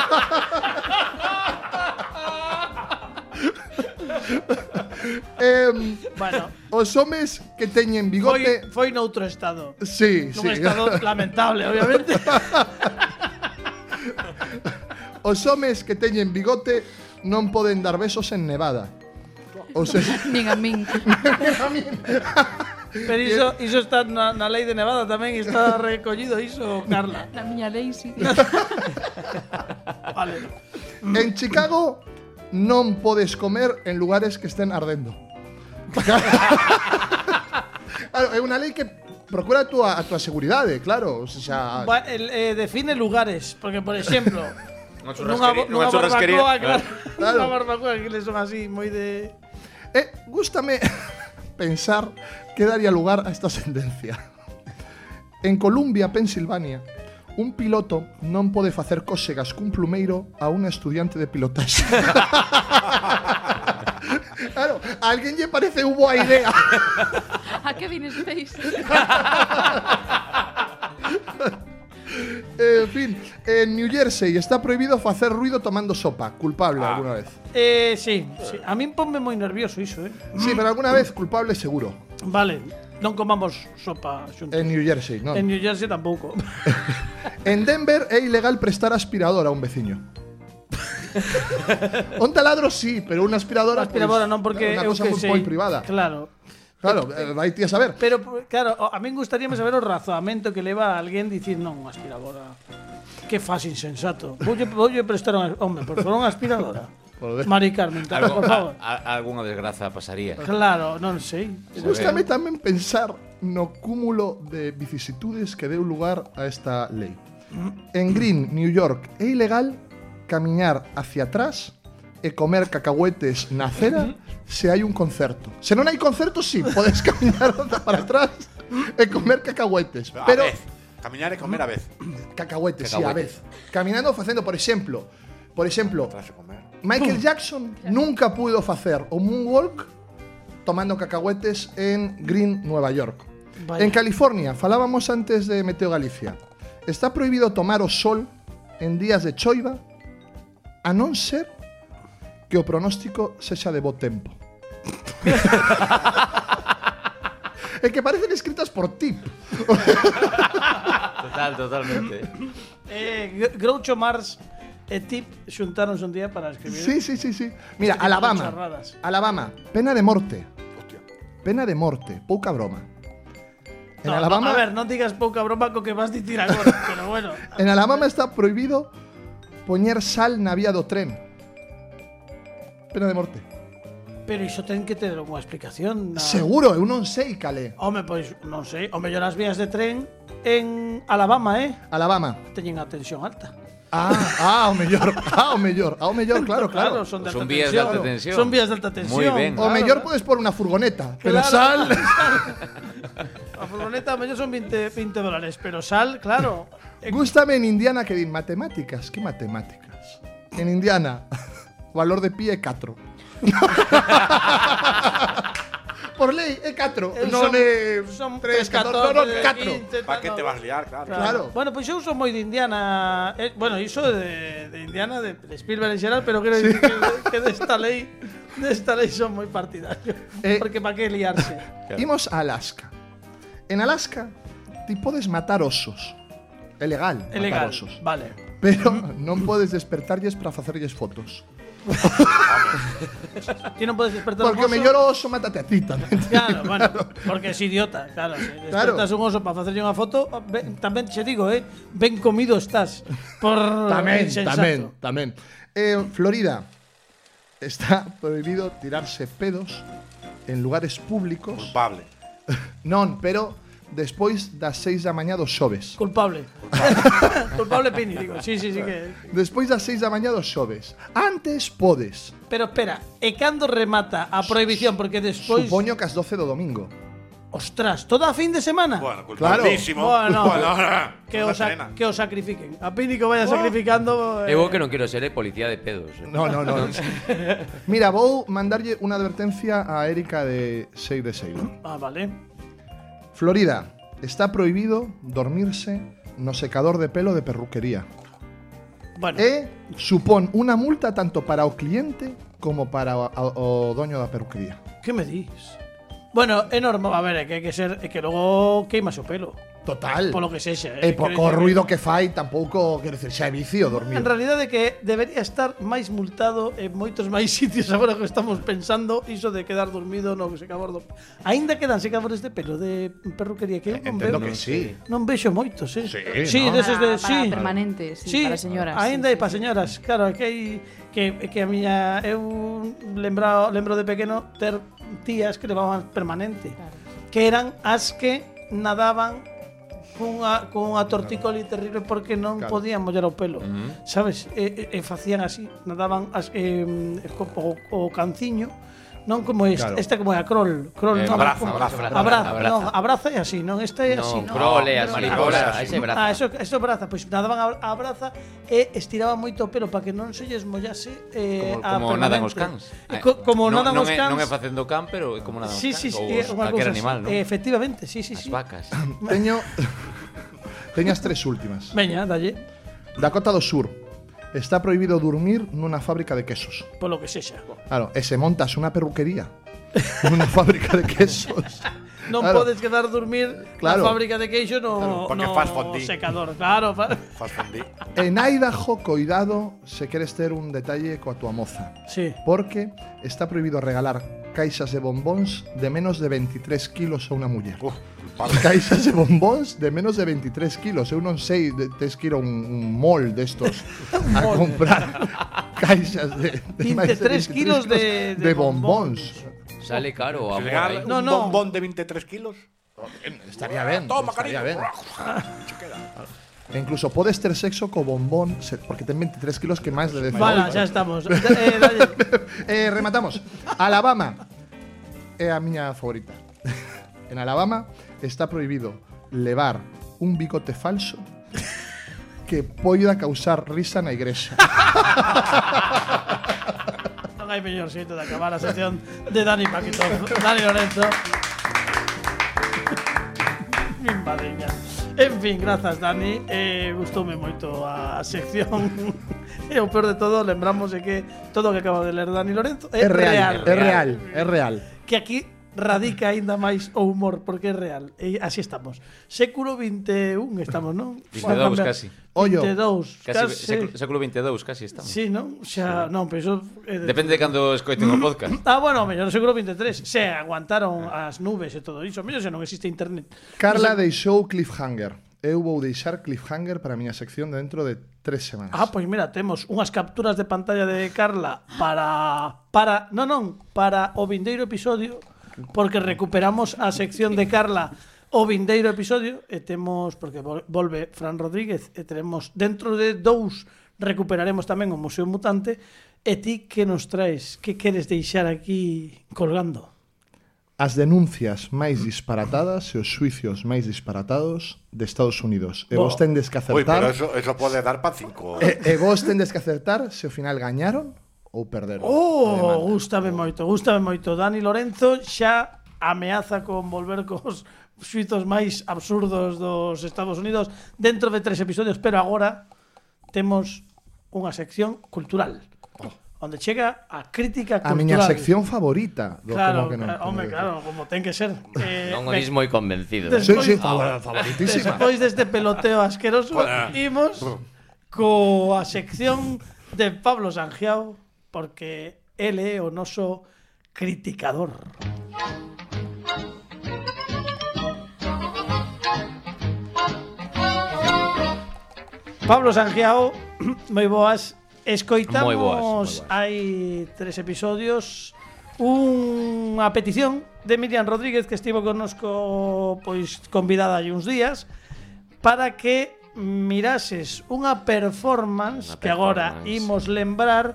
Em,
Bueno,
os homes que teñen
foi,
bigote...
foi noutro estado.
Sí,
Nun
sí.
estado lamentable, obviamente.
Os homes que teñen bigote non poden dar besos en Nevada. Os
Nin a min.
Pero iso, iso está na, na lei de Nevada tamén e está recollido iso, Carla.
Na miña lei, sí.
Vale.
En Chicago non podes comer en lugares que estén ardendo. claro, é unha lei que procura a túa, a túa seguridade, claro. O sea,
Va, el, eh, define lugares, porque por exemplo,
Unha
nunha, bo-
churrasquería-
nunha
unha churrasquería.
barbacoa, claro,
Claro.
nunha barbacoa que le son así moi de
eh, gústame pensar que daría lugar a esta sentencia. En Columbia, Pensilvania, un piloto non pode facer cósegas cun plumeiro a un estudiante de pilotaxe. claro, a alguén lle parece unha boa idea.
A Kevin Space.
Eh, En fin, en New Jersey está prohibido facer ruido tomando sopa. Culpable alguna vez.
Eh, sí, sí. A mí ponme moi nervioso iso, eh.
Sí, pero alguna vez culpable seguro.
Vale, non comamos sopa xuntos.
En New Jersey, no.
En New Jersey tampouco.
En Denver é ilegal prestar aspirador a un veciño. un taladro sí, pero unha aspiradora...
Ahora, aspiradora
pois,
non porque
é
eu
Unha cosa
que
moi,
sei.
moi privada.
Claro.
Claro, eh, vai ti a saber.
Pero claro, o- a min gustaríame saber o razonamento que leva a alguén dicir non, unha aspiradora. Que fas insensato. Voulle voulle prestar un home, por favor, unha aspiradora.
Joder.
Mari Carmen, tamén,
Algo- Ah.
por favor.
a- a- alguna desgraza pasaría.
Claro, non sei.
Gústame tamén pensar no cúmulo de vicisitudes que deu lugar a esta lei. En Green, New York, é ilegal camiñar hacia atrás e comer cacahuetes na acera se hai un concerto. Se non hai concerto, sí, podes camiñar ata para atrás e comer cacahuetes.
A
Pero
vez. Camiñar e comer a vez.
cacahuetes, sí, a
Cacahuetes.
vez. Caminando facendo, por exemplo, por exemplo,
Tras de comer.
Michael Jackson nunca pudo facer o moonwalk tomando cacahuetes en Green, Nueva York.
Vaya.
En California, falábamos antes de Meteo Galicia. Está prohibido tomar o sol en días de choiva a non ser que o pronóstico sexa de bo tempo. é que parecen escritas por ti.
Total, totalmente.
Eh, Gr- Groucho Mars e Tip xuntáronse un día para escribir.
Sí, sí, sí, sí.
Este tipo
Mira,
de
Alabama.
charradas.
Alabama, pena de morte.
Hostia.
Pena de morte, pouca broma. En
No,
Alabama,
no, a ver, non digas pouca broma co que vas dicir agora, pero bueno.
en Alabama está prohibido poñer sal na vía do tren. Pena de morte.
Ah. Pero iso ten que ter unha explicación. Na...
Seguro, eu non sei calé.
Home, pois, non sei, o mellor as vías de tren en Alabama, eh?
Alabama.
Teñen a tensión alta.
Ah, ah, o mellor, ah, o mellor, ah, o mellor, claro, claro.
son de
Son
alta
vías de
tensión.
alta tensión.
Son vías de alta tensión.
Moi ben.
O
claro,
mellor
claro.
podes por unha furgoneta, pero
Claro.
sal.
A furgoneta, o mellor son 20, 20 dólares, pero sal, claro. Eh,
Gústame en Indiana que din matemáticas, que matemáticas. En Indiana, valor de pi é 4. Por lei é 4, non
Eh, son- son
é 3, 14, non, 4.
15,
Pa que te
no.
vas liar, claro.
Claro.
Bueno, pues pois eu son moi de Indiana, eh, bueno, iso de, de Indiana, de, de Spielberg en xeral, pero quero dicir que, que desta lei, desta lei son moi partidario,
Eh.
porque pa que liarse.
Imos a Alaska. En Alaska, ti podes matar osos. É legal
É legal,
matar osos.
vale.
Pero non podes despertarlles para facerlles fotos.
Ti non podes despertar
Porque o
un oso.
mellor o oso mátate a ti tamén.
Claro, bueno, porque es idiota, claro. Si despertas un oso para facerlle unha foto, ve- tamén che digo, eh, ben comido estás. Por
Tamén,
insensato.
tamén, tamén. Eh, Florida está prohibido tirarse pedos en lugares públicos.
Culpable.
Non, pero despois das 6 da mañá dos xoves.
Culpable. Culpable Pini, digo. Sí, sí, sí que.
Despois das 6 da mañá dos xoves. Antes podes.
Pero espera, e cando remata a prohibición porque despois
Supoño que as 12 do domingo.
Ostras, toda a fin de semana.
Bueno,
Claro.
culpabilísimo.
Bueno.
ahora,
que
no
o,
hace
sa-
nada.
que o sacrifiquen. A Pini que o vaya sacrificando. eh,
Eu que non quero ser é policía de pedos. eh.
No, no, no. Mira, vou mandarlle unha advertencia a Erika de 6 de 6.
Ah, vale.
Florida, está prohibido dormirse no secador de pelo de perruquería.
Bueno,
e supón unha multa tanto para o cliente como para o, o, o doño da perruquería.
que me dis? Bueno, é normal, a ver, é que hai que ser, é que logo queimas o pelo.
Total.
Polo que sexa, eh,
E
quero
pouco
dicir-
ruido que fai, tampouco, quero dicir, xa é vicio
En
dormir.
realidad é que debería estar máis multado en moitos máis sitios agora que estamos pensando iso de quedar dormido no secador do... Aínda quedan secadores de pelo de perruquería que eu non
Entendo
veo.
que sí.
Non vexo moitos, eh.
Sí,
sí
¿no?
deses de
Ah, Para-
sí.
para permanentes, sí, para señoras,
Ainda
sí,
hai
sí,
para
sí.
señoras, claro, é que hai que que a miña eu lembrado lembro de pequeno ter tías que levaban permanente, que eran as que nadaban cunha, cunha tortícoli terrible porque non
Claro.
podían mollar o pelo. Sabes? E, e, e facían así, nadaban as, eh, co, o, o canciño, non como esta,
Claro.
esta como é a crol, crol
Eh,
non,
abraza,
como-
abraza,
abraza,
abraza.
non, abraza é así, non, esta é eh, así.
Non,
non.
crole,
No,
así,
mariposa,
braza, ese braza.
Ah, eso, eso braza, pois nadaban a- a braza e estiraban moito o pelo para que non se lles mollase eh,
Como,
a
como nadan
permanente.
os cans.
E co- como
non,
nadan
non
os
é-
cans.
Non é facendo can, pero é como nadan
Sí,
os cans.
sí, sí,
ou
é
os-
unha cousa.
calquera animal,
así.
non?
Eh, Efectivamente, sí, sí,
As
sí.
vacas.
Teño... Teño as tres últimas.
Veña, dalle.
Dakota do Sur. Está prohibido dormir nunha fábrica de quesos.
Por lo que sexa.
Claro, e se montas unha perruquería nunha fábrica de quesos.
Non
Claro.
podes quedar a dormir
Claro.
na fábrica de queixo no,
Claro, porque
no
fast food.
secador. Claro, fa-
Fast food di.
En Idaho, coidado, se queres ter un detalle coa tua moza.
sí.
Porque está prohibido regalar caixas de bombóns de menos de 23 kilos a una muller.
Uf, vale.
Caixas de bombóns de menos de 23 kilos. Eh, Eu non sei de tes que ir a un, un mall destos a
mall.
comprar caixas de, de máis
23 kilos de- de
de bombóns.
Sale caro. amor,
Regala
eh.
No,
un
no.
bombón de 23 kilos.
Estaría ben.
Toma,
estaría
cariño.
ben. E incluso podes ter sexo co bombón se- porque ten 23 kilos que máis le decimos.
Vale, xa estamos. Eh, dalle.
Eh, rematamos. Alabama é a miña favorita. En Alabama está prohibido levar un bigote falso que poida causar risa na igrexa.
non hai mellor xeito de acabar a sesión de Dani Paquitón. Dani Lorenzo. Min madriña. En fin, grazas Dani eh, Gustoume moito a sección E o peor de todo, lembramos de que Todo o que acaba de ler Dani Lorenzo É,
É real,
real.
é real, é real.
que aquí radica aínda máis o humor porque é real. E así estamos. Século 21 estamos, non?
22 casi.
Ollo.
22,
Casi,
casi.
século- século 22 casi estamos.
Sí, non? Xa, non, pero iso é de-
Depende de cando escoiten o podcast.
Ah, bueno, mellor século 23. Se aguantaron as nubes e todo iso. Mellor se non existe internet.
Carla deixou cliffhanger. Eu vou deixar cliffhanger para a miña sección dentro de tres semanas.
Ah, pois mira, temos unhas capturas de pantalla de Carla para para, non, non, para o vindeiro episodio, porque recuperamos a sección de Carla o vindeiro episodio e temos porque vol- volve Fran Rodríguez e teremos dentro de dous recuperaremos tamén o Museo Mutante e ti que nos traes? Que queres deixar aquí colgando?
As denuncias máis disparatadas e os suicios máis disparatados de Estados Unidos. E vos
Bo.
tendes que
Uy, pero eso,
acertar...
eso puede dar ¿eh? para 5.
E, e vos tendes que acertar se ao final gañaron ou perderon.
Oh, gústame moito, gústame moito. Dani Lorenzo xa ameaza con volver cos suizos máis absurdos dos Estados Unidos dentro de tres episodios, pero agora temos unha sección cultural
Oh.
onde chega a crítica
A
cultural.
miña sección favorita do
Claro,
como que non.
claro, home, claro, como ten que ser. Eh,
Non o
ben,
dis moi convencido. ¿eh?
Sí, sí,
Despois-
favor- favoritísima.
Despois deste este peloteo asqueroso, imos coa sección de Pablo Sangiao, porque ele é o noso criticador. Pablo Sangiao, moi boas. Escoitamos
Moi boas, moi boas.
hai tres episodios unha petición de Miriam Rodríguez que estivo connosco pois convidada hai uns días para que mirases unha performance,
Unha
que agora
performance.
imos lembrar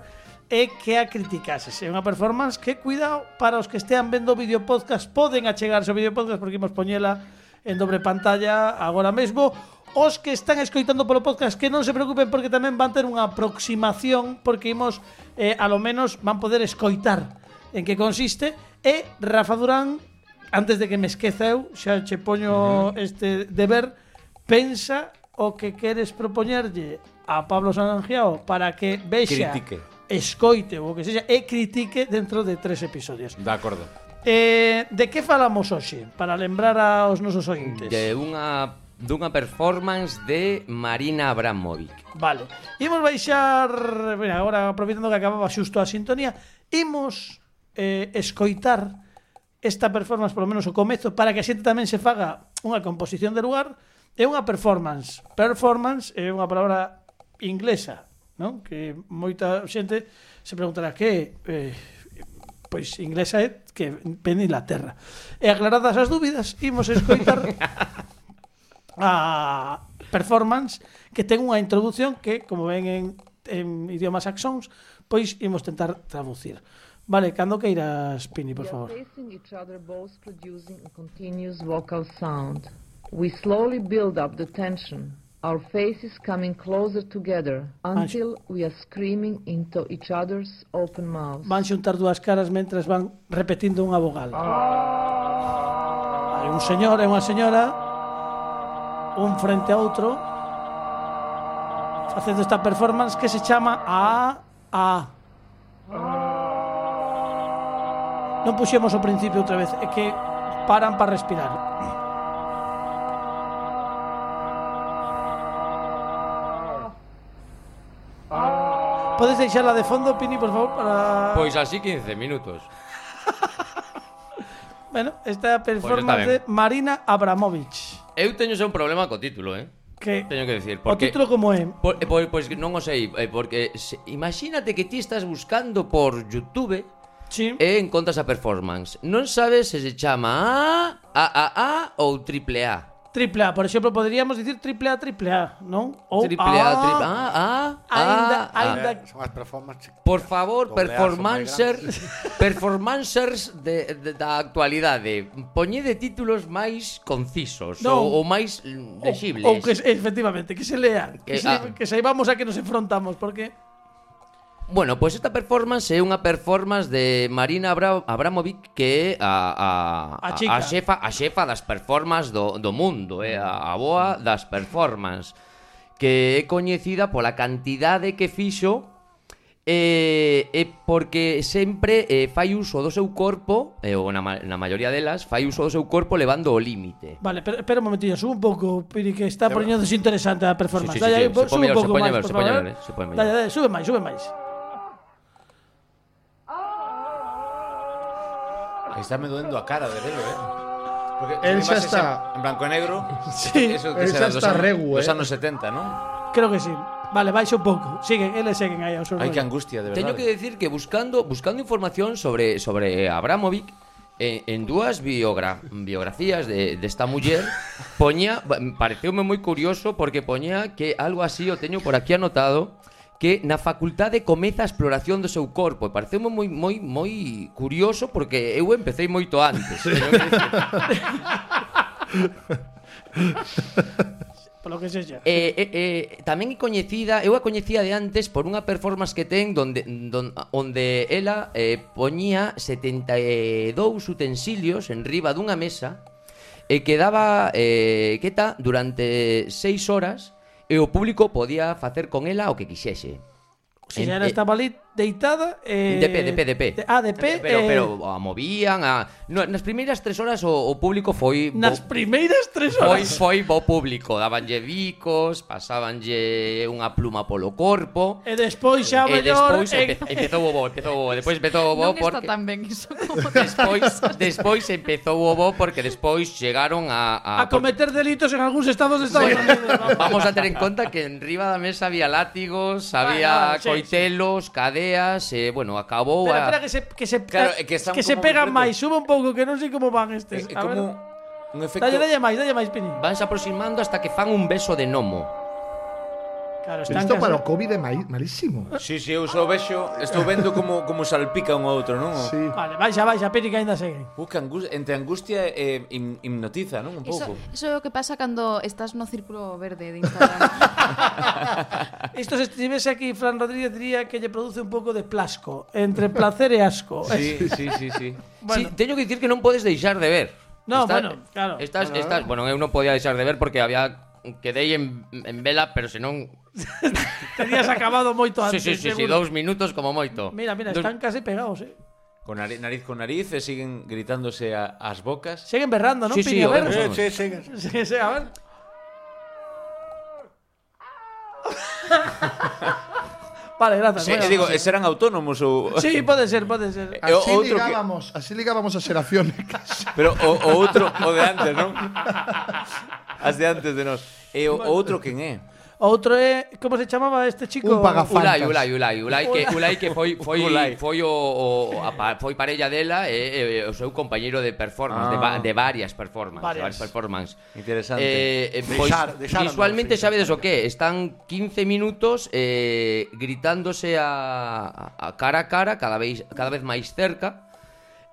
e que a criticases. É unha performance que, cuidado, para os que estean vendo o videopodcast, poden achegarse ao videopodcast porque imos poñela en dobre pantalla agora mesmo. Os que están escoitando polo podcast que non se preocupen porque tamén van ter unha aproximación porque imos, eh, a lo menos, van poder escoitar en que consiste e Rafa Durán antes de que me esqueza eu, xa che poño este deber, pensa o que queres propoñerlle a Pablo Sanangiao para que vexa,
Critique.
escoite ou o que sexa, e critique dentro de tres episodios.
De acordo.
Eh, de que falamos hoxe? Para lembrar aos nosos ointes.
De unha dunha performance de Marina Abramovic.
Vale. Imos baixar, mira, agora aproveitando que acababa xusto a sintonía, imos eh, escoitar esta performance, polo menos o comezo, para que a xente tamén se faga unha composición de lugar, é unha performance. Performance é unha palabra inglesa, non? Que moita xente se preguntará que é? eh, pois inglesa é que ven de Inglaterra. E aclaradas as dúbidas, imos escoitar a performance que ten unha introdución que, como ven en, en idiomas saxóns, pois imos tentar traducir. Vale, cando que irás, Pini, por favor?
We are facing each other, both producing a continuous vocal sound. We slowly build up the tension, our faces coming closer together until we are screaming into each other's open mouths.
Van xuntar dúas caras mentras van repetindo unha vogal. Hai un señor e unha señora un frente a outro facendo esta performance que se chama A A. Non puxemos o principio outra vez, é que paran para respirar. Podes deixarla de fondo, Pini, por favor, para...
Pois Pues así 15 minutos.
Bueno, esta
está
performance
ben.
de Marina Abramovich.
Eu teño xa un problema co título, eh?
Que
Teño que decir,
o
porque
título como em, é?
Por- eh, Pois, pois non o sei, eh, porque se, imagínate que ti estás buscando por Youtube eh,
Sí.
e encontras a performance. Non sabes se se chama A, AAA ou triple A.
Triple A, por exemplo, poderíamos dicir triple A, triple A, non? Ou
Triple A,
A,
triple A, Ah, A, A,
Oh, ah, Ainda,
A.
ainda.
Eh, son as performances.
Por favor,
Doble A son
performancer, performancers de, de, da actualidade, poñede títulos máis concisos
Non.
ou, ou máis mm, lexibles.
Ou que se- efectivamente, que se lean, que,
Que-
se,
ah.
que saibamos a que nos enfrontamos, porque
Bueno, pois esta performance é unha performance de Marina Abra Abramovic que é a,
A
a,
chica.
a, xefa, a xefa das performances do, do mundo, é a, a boa das performances que é coñecida pola cantidade que fixo e, e porque sempre eh, fai uso do seu corpo, eh, ou na, ma- na maioría delas, fai uso do seu corpo levando o límite.
Vale, pero espera un momentillo, sube un pouco, Piri, que está poñéndose interesante a performance.
Sí, sí, sí,
Dai,
sí,
aí, po-
se
sube
pon
un
mellor, se
pouco
pon
máis,
mellor,
por
se pon
favor.
mellor, eh, se pon mellor.
Dai, dai, sube máis, sube máis.
Ahí está me doendo a cara de verlo, eh. Porque
Él
son
ya
imágenes
está.
En, en blanco y negro.
Sí,
Eso
él
que
ya
será
está
dos, anos-
regu,
dos
eh.
anos 70, ¿no?
creo que sí. Vale, baixa un pouco. Siguen, eles seguen aí ao seu
Ay, qué
rollo.
angustia, de verdad.
Teño que decir que buscando buscando información sobre sobre Abramovic eh, en dúas biogra biografías de desta muller poñía ba- pareceume moi curioso porque poñía que algo así o teño por aquí anotado que na facultade comeza a exploración do seu corpo e pareceume moi moi moi curioso porque eu empecéi moito antes. Teño que dicir.
Polo que sexa.
Eh, eh, eh, tamén é coñecida, eu a coñecía de antes por unha performance que ten donde don, onde ela eh, poñía 72 utensilios en riba dunha mesa e quedaba eh, queta durante 6 horas e o público podía facer con ela o que quixese.
Se xa
en-
era
eh,
estaba ali deitada eh,
De pé, de pé, de pé.
Ah, de pé
Pero,
eh,
pero a movían, a... No, nas primeiras tres horas o, o público foi... bo-
Nas primeiras tres
Foi,
horas
foi bo público, dabanlle bicos, pasábanlle unha pluma polo corpo.
E despois xa
e
mellor
despois
en-
empe, empezou o bo, empezou o bo, despois empezou o bo
Non está
porque
tan ben iso como
despois despois empezou o bo porque despois chegaron a
a
a,
cometer delitos en algúns estados de Estados Unidos.
porque- Vamos a ter en conta que en riba da mesa había látigos,
Bueno,
había
sí,
coitelos, cadeas, e bueno, acabou
Espera, espera
a
que se que se eh,
Claro, é que están
que se
como
pegan
concreto.
máis, sube un pouco que non sei como van
Eh,
estes.
eh,
A ver.
como un efecto.
Dalle, dalle máis, dalle máis Pini.
vanse aproximando hasta que fan un beso de gnomo.
Claro,
Pero
están
isto para o
casi...
COVID é mai- malísimo.
Sí, sí, eu só vexo, estou vendo como como salpica un ao outro, non?
Sí.
Vale, baixa, baixa, Pini que aínda seguen.
Uh, que angustia, entre angustia e him- hipnotiza, non? Un
Eso,
pouco.
eso é o que pasa cando estás no círculo verde de Instagram.
Isto se estivese aquí Fran Rodríguez diría que lle produce un pouco de plasco, entre placer e asco. Eh,
Sí, sí, sí, sí.
Bueno.
Bueno. Sí, teño que dicir que non podes deixar de ver.
No, bueno, claro.
Estás, estás, bueno, eu non podía deixar de ver porque había quedei en, en vela, pero senón
Tenías acabado moito antes.
Sí, sí, sí, sí,
seguro.
dous minutos como moito.
Mira, mira,
Dous-
están casi pegados, eh.
Con nariz, nariz con nariz e siguen gritándose a, as bocas.
Seguen berrando, non
Sí,
Pini?
sí,
a ver.
o vemos.
Eh, sí, sí.
Sí, sí, a ver. vale, gracias.
Sí,
bueno.
eh, digo, eh, serán autónomos ou
Sí, pode ser, pode
Eh.
ser.
E o
Así
outro que,
ligábamos, así ligábamos a Serafión.
pero o, o outro o de antes, non? As de antes de nós. E o, o outro quen é?
Outro é, como eh, se chamaba este chico?
Un pagafa-
Ulai,
Fantas.
Ulai, Ulai, Ulai que Ulai que foi foi
Ulai.
foi o, o a, pa- foi parella dela e, e o seu compañeiro de performance,
Ah.
de, va- de varias performances,
Varias.
varias, varias performances.
Interesante.
Eh, eh,
De
pois,
Sar- de Sarandon,
visualmente
sí.
sabedes o que? Están 15 minutos eh, gritándose a, a cara a cara cada vez cada vez máis cerca.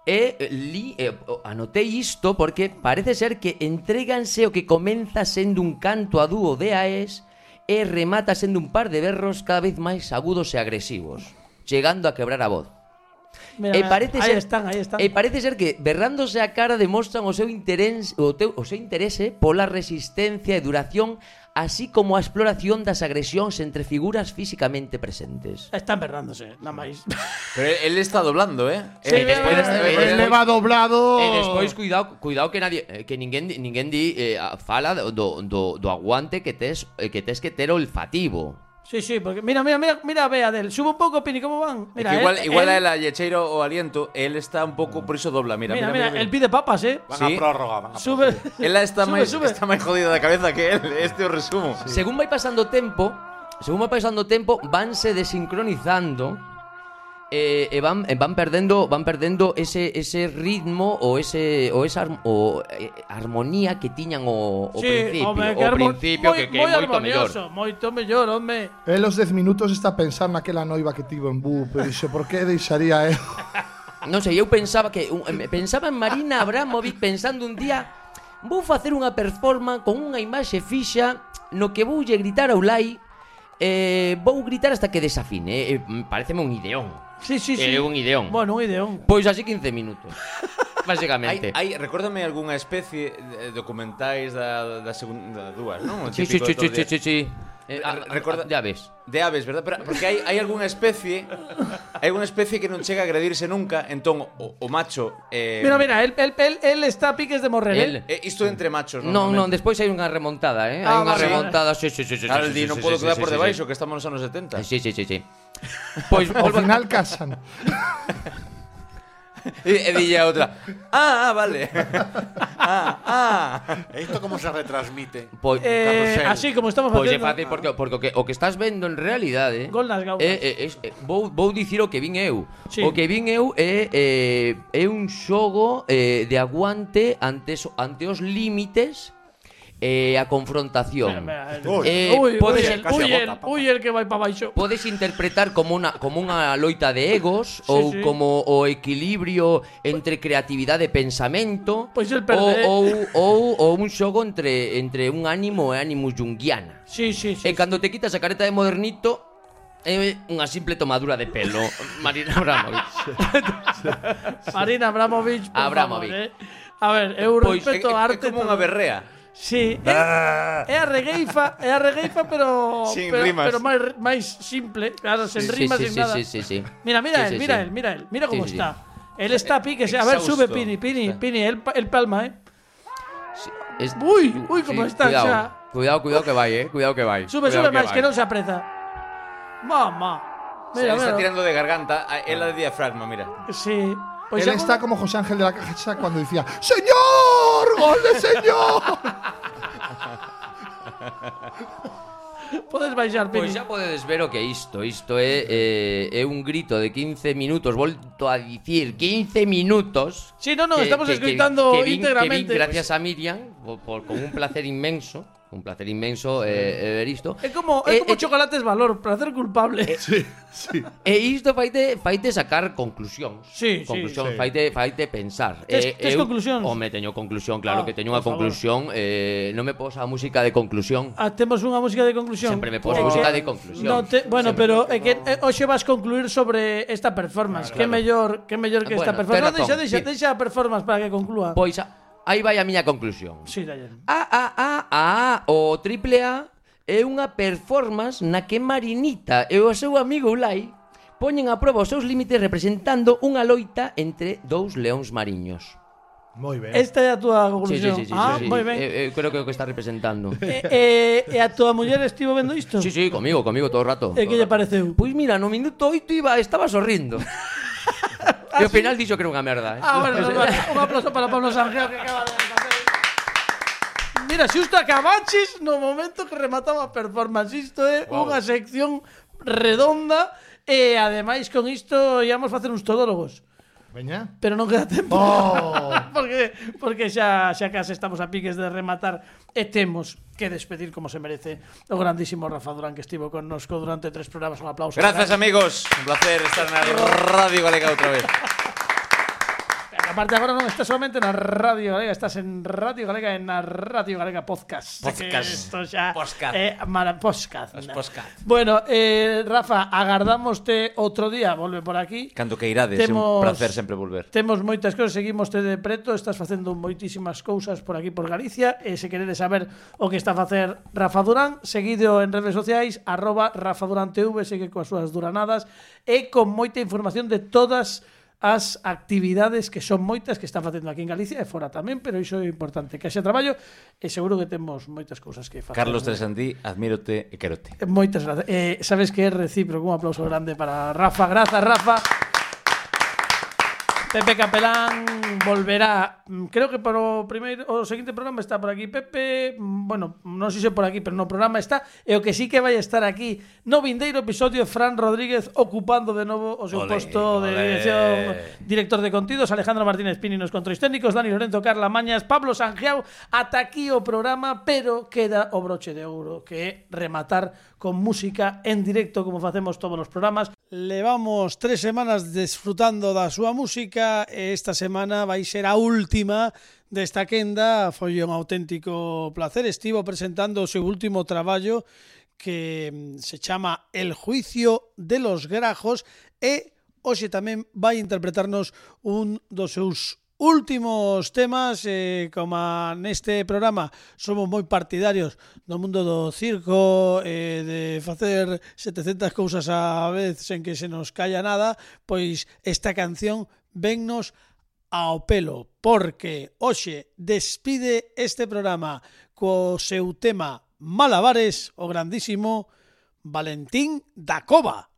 E eh, li, eh, o- anotei isto porque parece ser que entréganse o que comeza sendo un canto a dúo de AES e remata sendo un par de berros cada vez máis agudos e agresivos, chegando a quebrar a voz.
Mira, mira,
E parece
aí
ser,
están, aí están.
E parece ser que berrándose a cara demostran o seu interés o, teu, o seu interese pola resistencia e duración así como a exploración das agresións entre figuras físicamente presentes.
Están berrándose, nada máis.
Pero él, él está doblando, ¿eh?
Sí,
Eh, despois-
eh,
eh,
Él le va doblado.
E despois cuidado, cuidado que nadie eh, que ninguén di- ninguén di eh, a- fala do, do, do- do aguante que tes eh, que tes que ter olfativo.
Sí, sí, porque mira, mira, mira, mira a Bea del. Sube un pouco, Pini, como van?
É
Mira, eh,
que igual,
él-
igual
él-
a la Yecheiro o Aliento, él está un pouco, por iso dobla, mira.
Mira,
Mira,
mira, el pide papas, eh.
Van
Sí.
a prórroga, van a
Sube.
Él está
Sube,
máis
sube.
está máis jodido da cabeza que él, este o resumo.
Según vai pasando o tempo, según vai pasando o tempo, vanse desincronizando eh, e van e van perdendo, van perdendo ese ese ritmo ou ese ou esa arm- o eh, armonía que tiñan o, o principio, o
armo- moi-
principio que, que é
moi
moito mellor.
harmonioso, Moito mellor, home.
En los 10 minutos está a pensar naquela noiva que tivo en Bu, pero dixo, por que deixaría eu?
Non sei, eu pensaba que un- em, pensaba en Marina Abramovic pensando un día vou facer unha performance con unha imaxe fixa no que voulle gritar ao Lai eh, vou gritar hasta que desafine, eh, eh, pareceme un ideón.
Sí, sí, sí.
É un ideón.
Bueno, un ideón.
Pois así 15 minutos.
Hai,
Básicamente.
hai, recórdame algunha especie de documentais da, da segunda da dúas, non? O
Sí, sí,
típico
sí,
de todo o
sí, sí,
día.
sí, sí. Eh, a-
Re- recorda-
a- Ya ves.
De aves, verdad? Pero, porque hai, hai algunha especie hai unha especie que non chega a agredirse nunca entón o, o macho eh,
Mira, mira, él, él, él, él está a piques de morrer,
Em, Él.
eh.
eh, isto entre machos
Non, non,
normalmente.
despois hai unha remontada, eh?
Ah,
Hai unha
vale.
remontada, sí, sí, sí, sí.
Claro,
sí,
di,
sí,
non
sí,
podo
sí,
quedar
sí,
por
sí,
debaixo
sí.
que estamos nos anos 70
Sí, sí, sí, sí. Pois
Ao
volvo-
final casan.
E,
eh,
e dille a outra Ah, ah, vale Ah,
prórroga. ¿Esto cómo se retransmite?
Pois
Eh,
Carrusel.
así como estamos Ah,
Pois é
facendo.
Pues fácil porque, porque o que, o que estás vendo en realidade eh,
Gol nas gaunas.
É, é, é, vou, vou dicir o que vin eu
Sí.
O que vin eu é, é, é un xogo é, de aguante ante, so- ante os límites e a confrontación
Mira, mira,
Uy.
Eh,
Uy, uy,
podes,
el,
casi
uy,
a
el,
bota, papá.
uy, el que vai para baixo.
podes interpretar como unha como unha loita de
Sí,
egos ou
sí.
como o equilibrio entre creatividade e pensamento
Pois el perde.
ou, ou, ou, ou un xogo entre entre un ánimo e ánimo junguiana.
Sí, sí, sí.
E cando te quitas a careta de modernito É unha simple tomadura de pelo Marina Abramovic
Marina Abramovic, por
Abramovic.
favor, eh. A ver, eu
Pues,
respeto
Pois é,
a arte
é como unha
todo.
berrea
Sí, eh, é,
Ah.
é a regueifa, é a regueifa pero
Sin
pero,
rimas.
pero máis máis simple, claro, sen
Sí,
rimas,
sí,
sen
sí,
nada.
sí, sí, sí.
Mira, mira
Sí,
él,
sí,
mira
sí.
él, mira él, mira
Sí,
cómo
sí,
está. Él está a pique, a ver,
Exhausto.
sube Pini, Pini,
Está.
Pini, el, el palma, eh.
Es-
Uy, uy, como está
cuidado,
xa.
Cuidado, cuidado que vai, eh Cuidado que vai
Sube, sube
cuidado
máis, que
vai.
non se apreza. Mamá. Mira,
Se está
mira.
tirando de garganta a- Ela de diafragma, mira
Sí. Pois
Él
xa-
está como José Ángel de la Casa cuando decía, ¡Señor! ¡Gol de señor!
podes baixar, Pini.
Pois xa podedes Pues ver o que é isto Isto é, eh, é un grito de 15 minutos Volto a dicir 15 minutos
Sí, no, no, estamos escoitando
que vin- Que
íntegramente. pues.
vin gracias a Miriam por, por- con un placer inmenso Un placer inmenso eh, eh, ver isto
É como, é
E-
como
e-
chocolates valor, placer culpable.
Sí, sí.
E isto faite faite sacar conclusións.
Sí, sí,
conclusións,
sí.
faite faite pensar. Eh,
Tes- tes conclusións?
Home, teño conclusión, claro
Ah,
que teño
por
unha conclusión, eh non me posa a música de conclusión.
Ah, temos unha música de conclusión.
Sempre me pos
É
música
que-
de conclusión.
No te, bueno, pero é que eh, hoxe vas concluir sobre esta performance. que mellor, que mellor que esta
Bueno,
performance.
ten razón,
deixa, deixa, deixa
sí.
a performance para que conclúa.
Pois a- aí vai a miña conclusión.
Sí, Dayan.
A a a a o triple A é unha performance na que Marinita e o seu amigo Ulai poñen a proba os seus límites representando unha loita entre dous leóns mariños.
Muy bien.
Esta é a túa
Sí, sí,
conclusión.
sí, sí,
ah,
sí, Eh, sí.
moi ben.
Eu, eu creo que é o que está representando.
E, eh, e a túa muller estivo vendo isto?
Sí, sí, comigo, comigo todo o rato.
E que lle pareceu?
Pois mira, no minuto 8 iba, estaba sorrindo. e ao final dixo que era unha merda, eh.
Ah, bueno, vale. un aplauso para Pablo Sangeo que acaba de facer. Mira, xusto acabaches no momento que remataba a performance Isto é unha sección redonda E ademais con isto íamos facer uns todólogos
Veña.
Pero non queda tempo
Oh.
porque, porque xa, xa case estamos a piques de rematar E temos que despedir como se merece O grandísimo Rafa Durán que estivo con nosco durante tres programas Un aplauso
Grazas amigos, un placer estar na Radio Galega outra vez
Pero Aparte agora non estás solamente na Radio Galega, estás en Radio Galega e na Radio Galega Podcast.
Podcast.
Que Isto xa
Podcast.
é mara podcast.
Os podcast.
Bueno, eh, Rafa, agardámoste outro día, volve por aquí.
Cando que irades, é
Temos-
un placer sempre volver.
Temos moitas cousas, seguimos te de preto, estás facendo moitísimas cousas por aquí por Galicia e se queredes saber o que está a facer Rafa Durán, seguido en redes sociais arroba Rafa Durán TV, segue coas súas duranadas e con moita información de todas as actividades que son moitas que está facendo aquí en Galicia e fora tamén, pero iso é importante que haxa traballo e seguro que temos moitas cousas que facer.
Carlos Tresandí, admírote e querote.
Moitas grazas. Eh, sabes que é recíproco, un aplauso grande para Rafa. Grazas, Rafa. Pepe Capelán volverá, mm, creo que para o primeiro o seguinte programa está por aquí Pepe, mm, bueno, non sei se por aquí, pero no programa está, e o que sí que vai estar aquí no vindeiro episodio Fran Rodríguez ocupando de novo o seu
Olé,
posto de
olé.
dirección director de contidos, Alejandro Martínez Pini nos controis técnicos, Dani Lorenzo, Carla Mañas, Pablo Sangiao, ata aquí o programa, pero queda o broche de ouro, que é rematar con música en directo como facemos todos os programas. Levamos tres semanas desfrutando da súa música e esta semana vai ser a última desta quenda. Foi un auténtico placer. Estivo presentando o seu último traballo que mm, se chama El juicio de los grajos e hoxe tamén vai interpretarnos un dos seus últimos temas eh, como neste programa somos moi partidarios do mundo do circo eh, de facer 700 cousas á vez sen que se nos calla nada pois esta canción vennos ao pelo porque hoxe despide este programa co seu tema Malabares o grandísimo Valentín da Cova.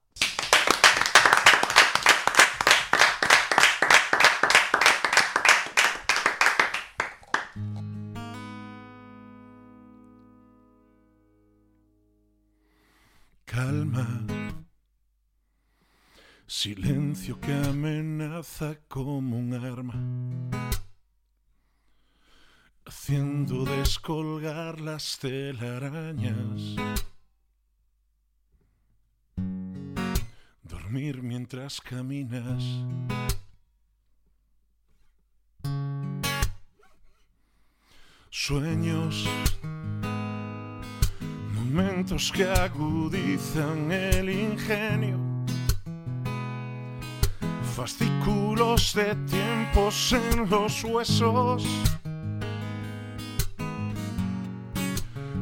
Calma. Silencio que amenaza como un arma. Haciendo descolgar las telarañas. Dormir mientras caminas. Sueños momentos que agudizan el ingenio, fascículos de tiempos en los huesos,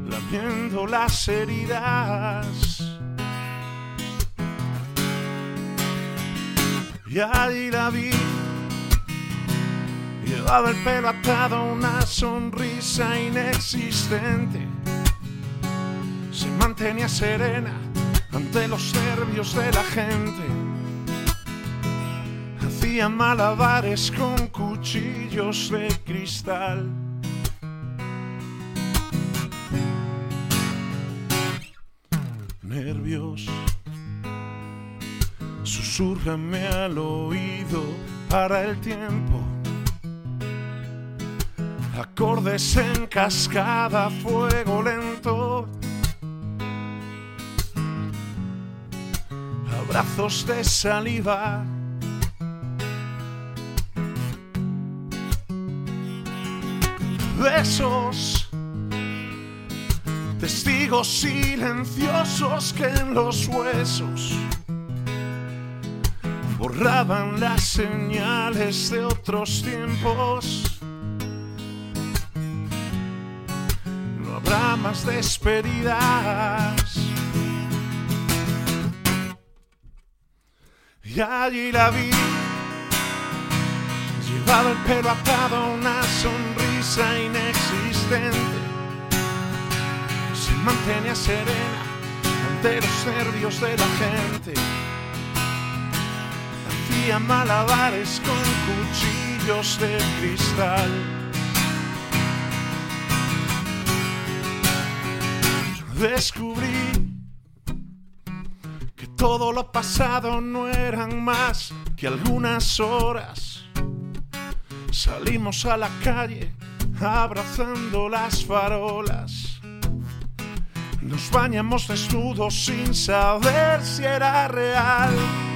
lamiendo las heridas. Y ahí la vi, llevaba el pelo atado a una sonrisa inexistente se mantenía serena ante los nervios de la gente. Hacía malabares con cuchillos de cristal. Nervios susurrame al oído para el tiempo. Acordes en cascada, fuego lento. abrazos de saliva. Besos, testigos silenciosos que en los huesos borraban las señales de otros tiempos. No habrá más despedidas. Y allí la vi. Llevaba el pelo atado a una sonrisa inexistente. Se mantenía serena ante los nervios de la gente. Hacía malabares con cuchillos de cristal. Descubrí que todo lo pasado no eran más que algunas horas. Salimos a la calle abrazando las farolas. Nos bañamos desnudos sin saber si era real.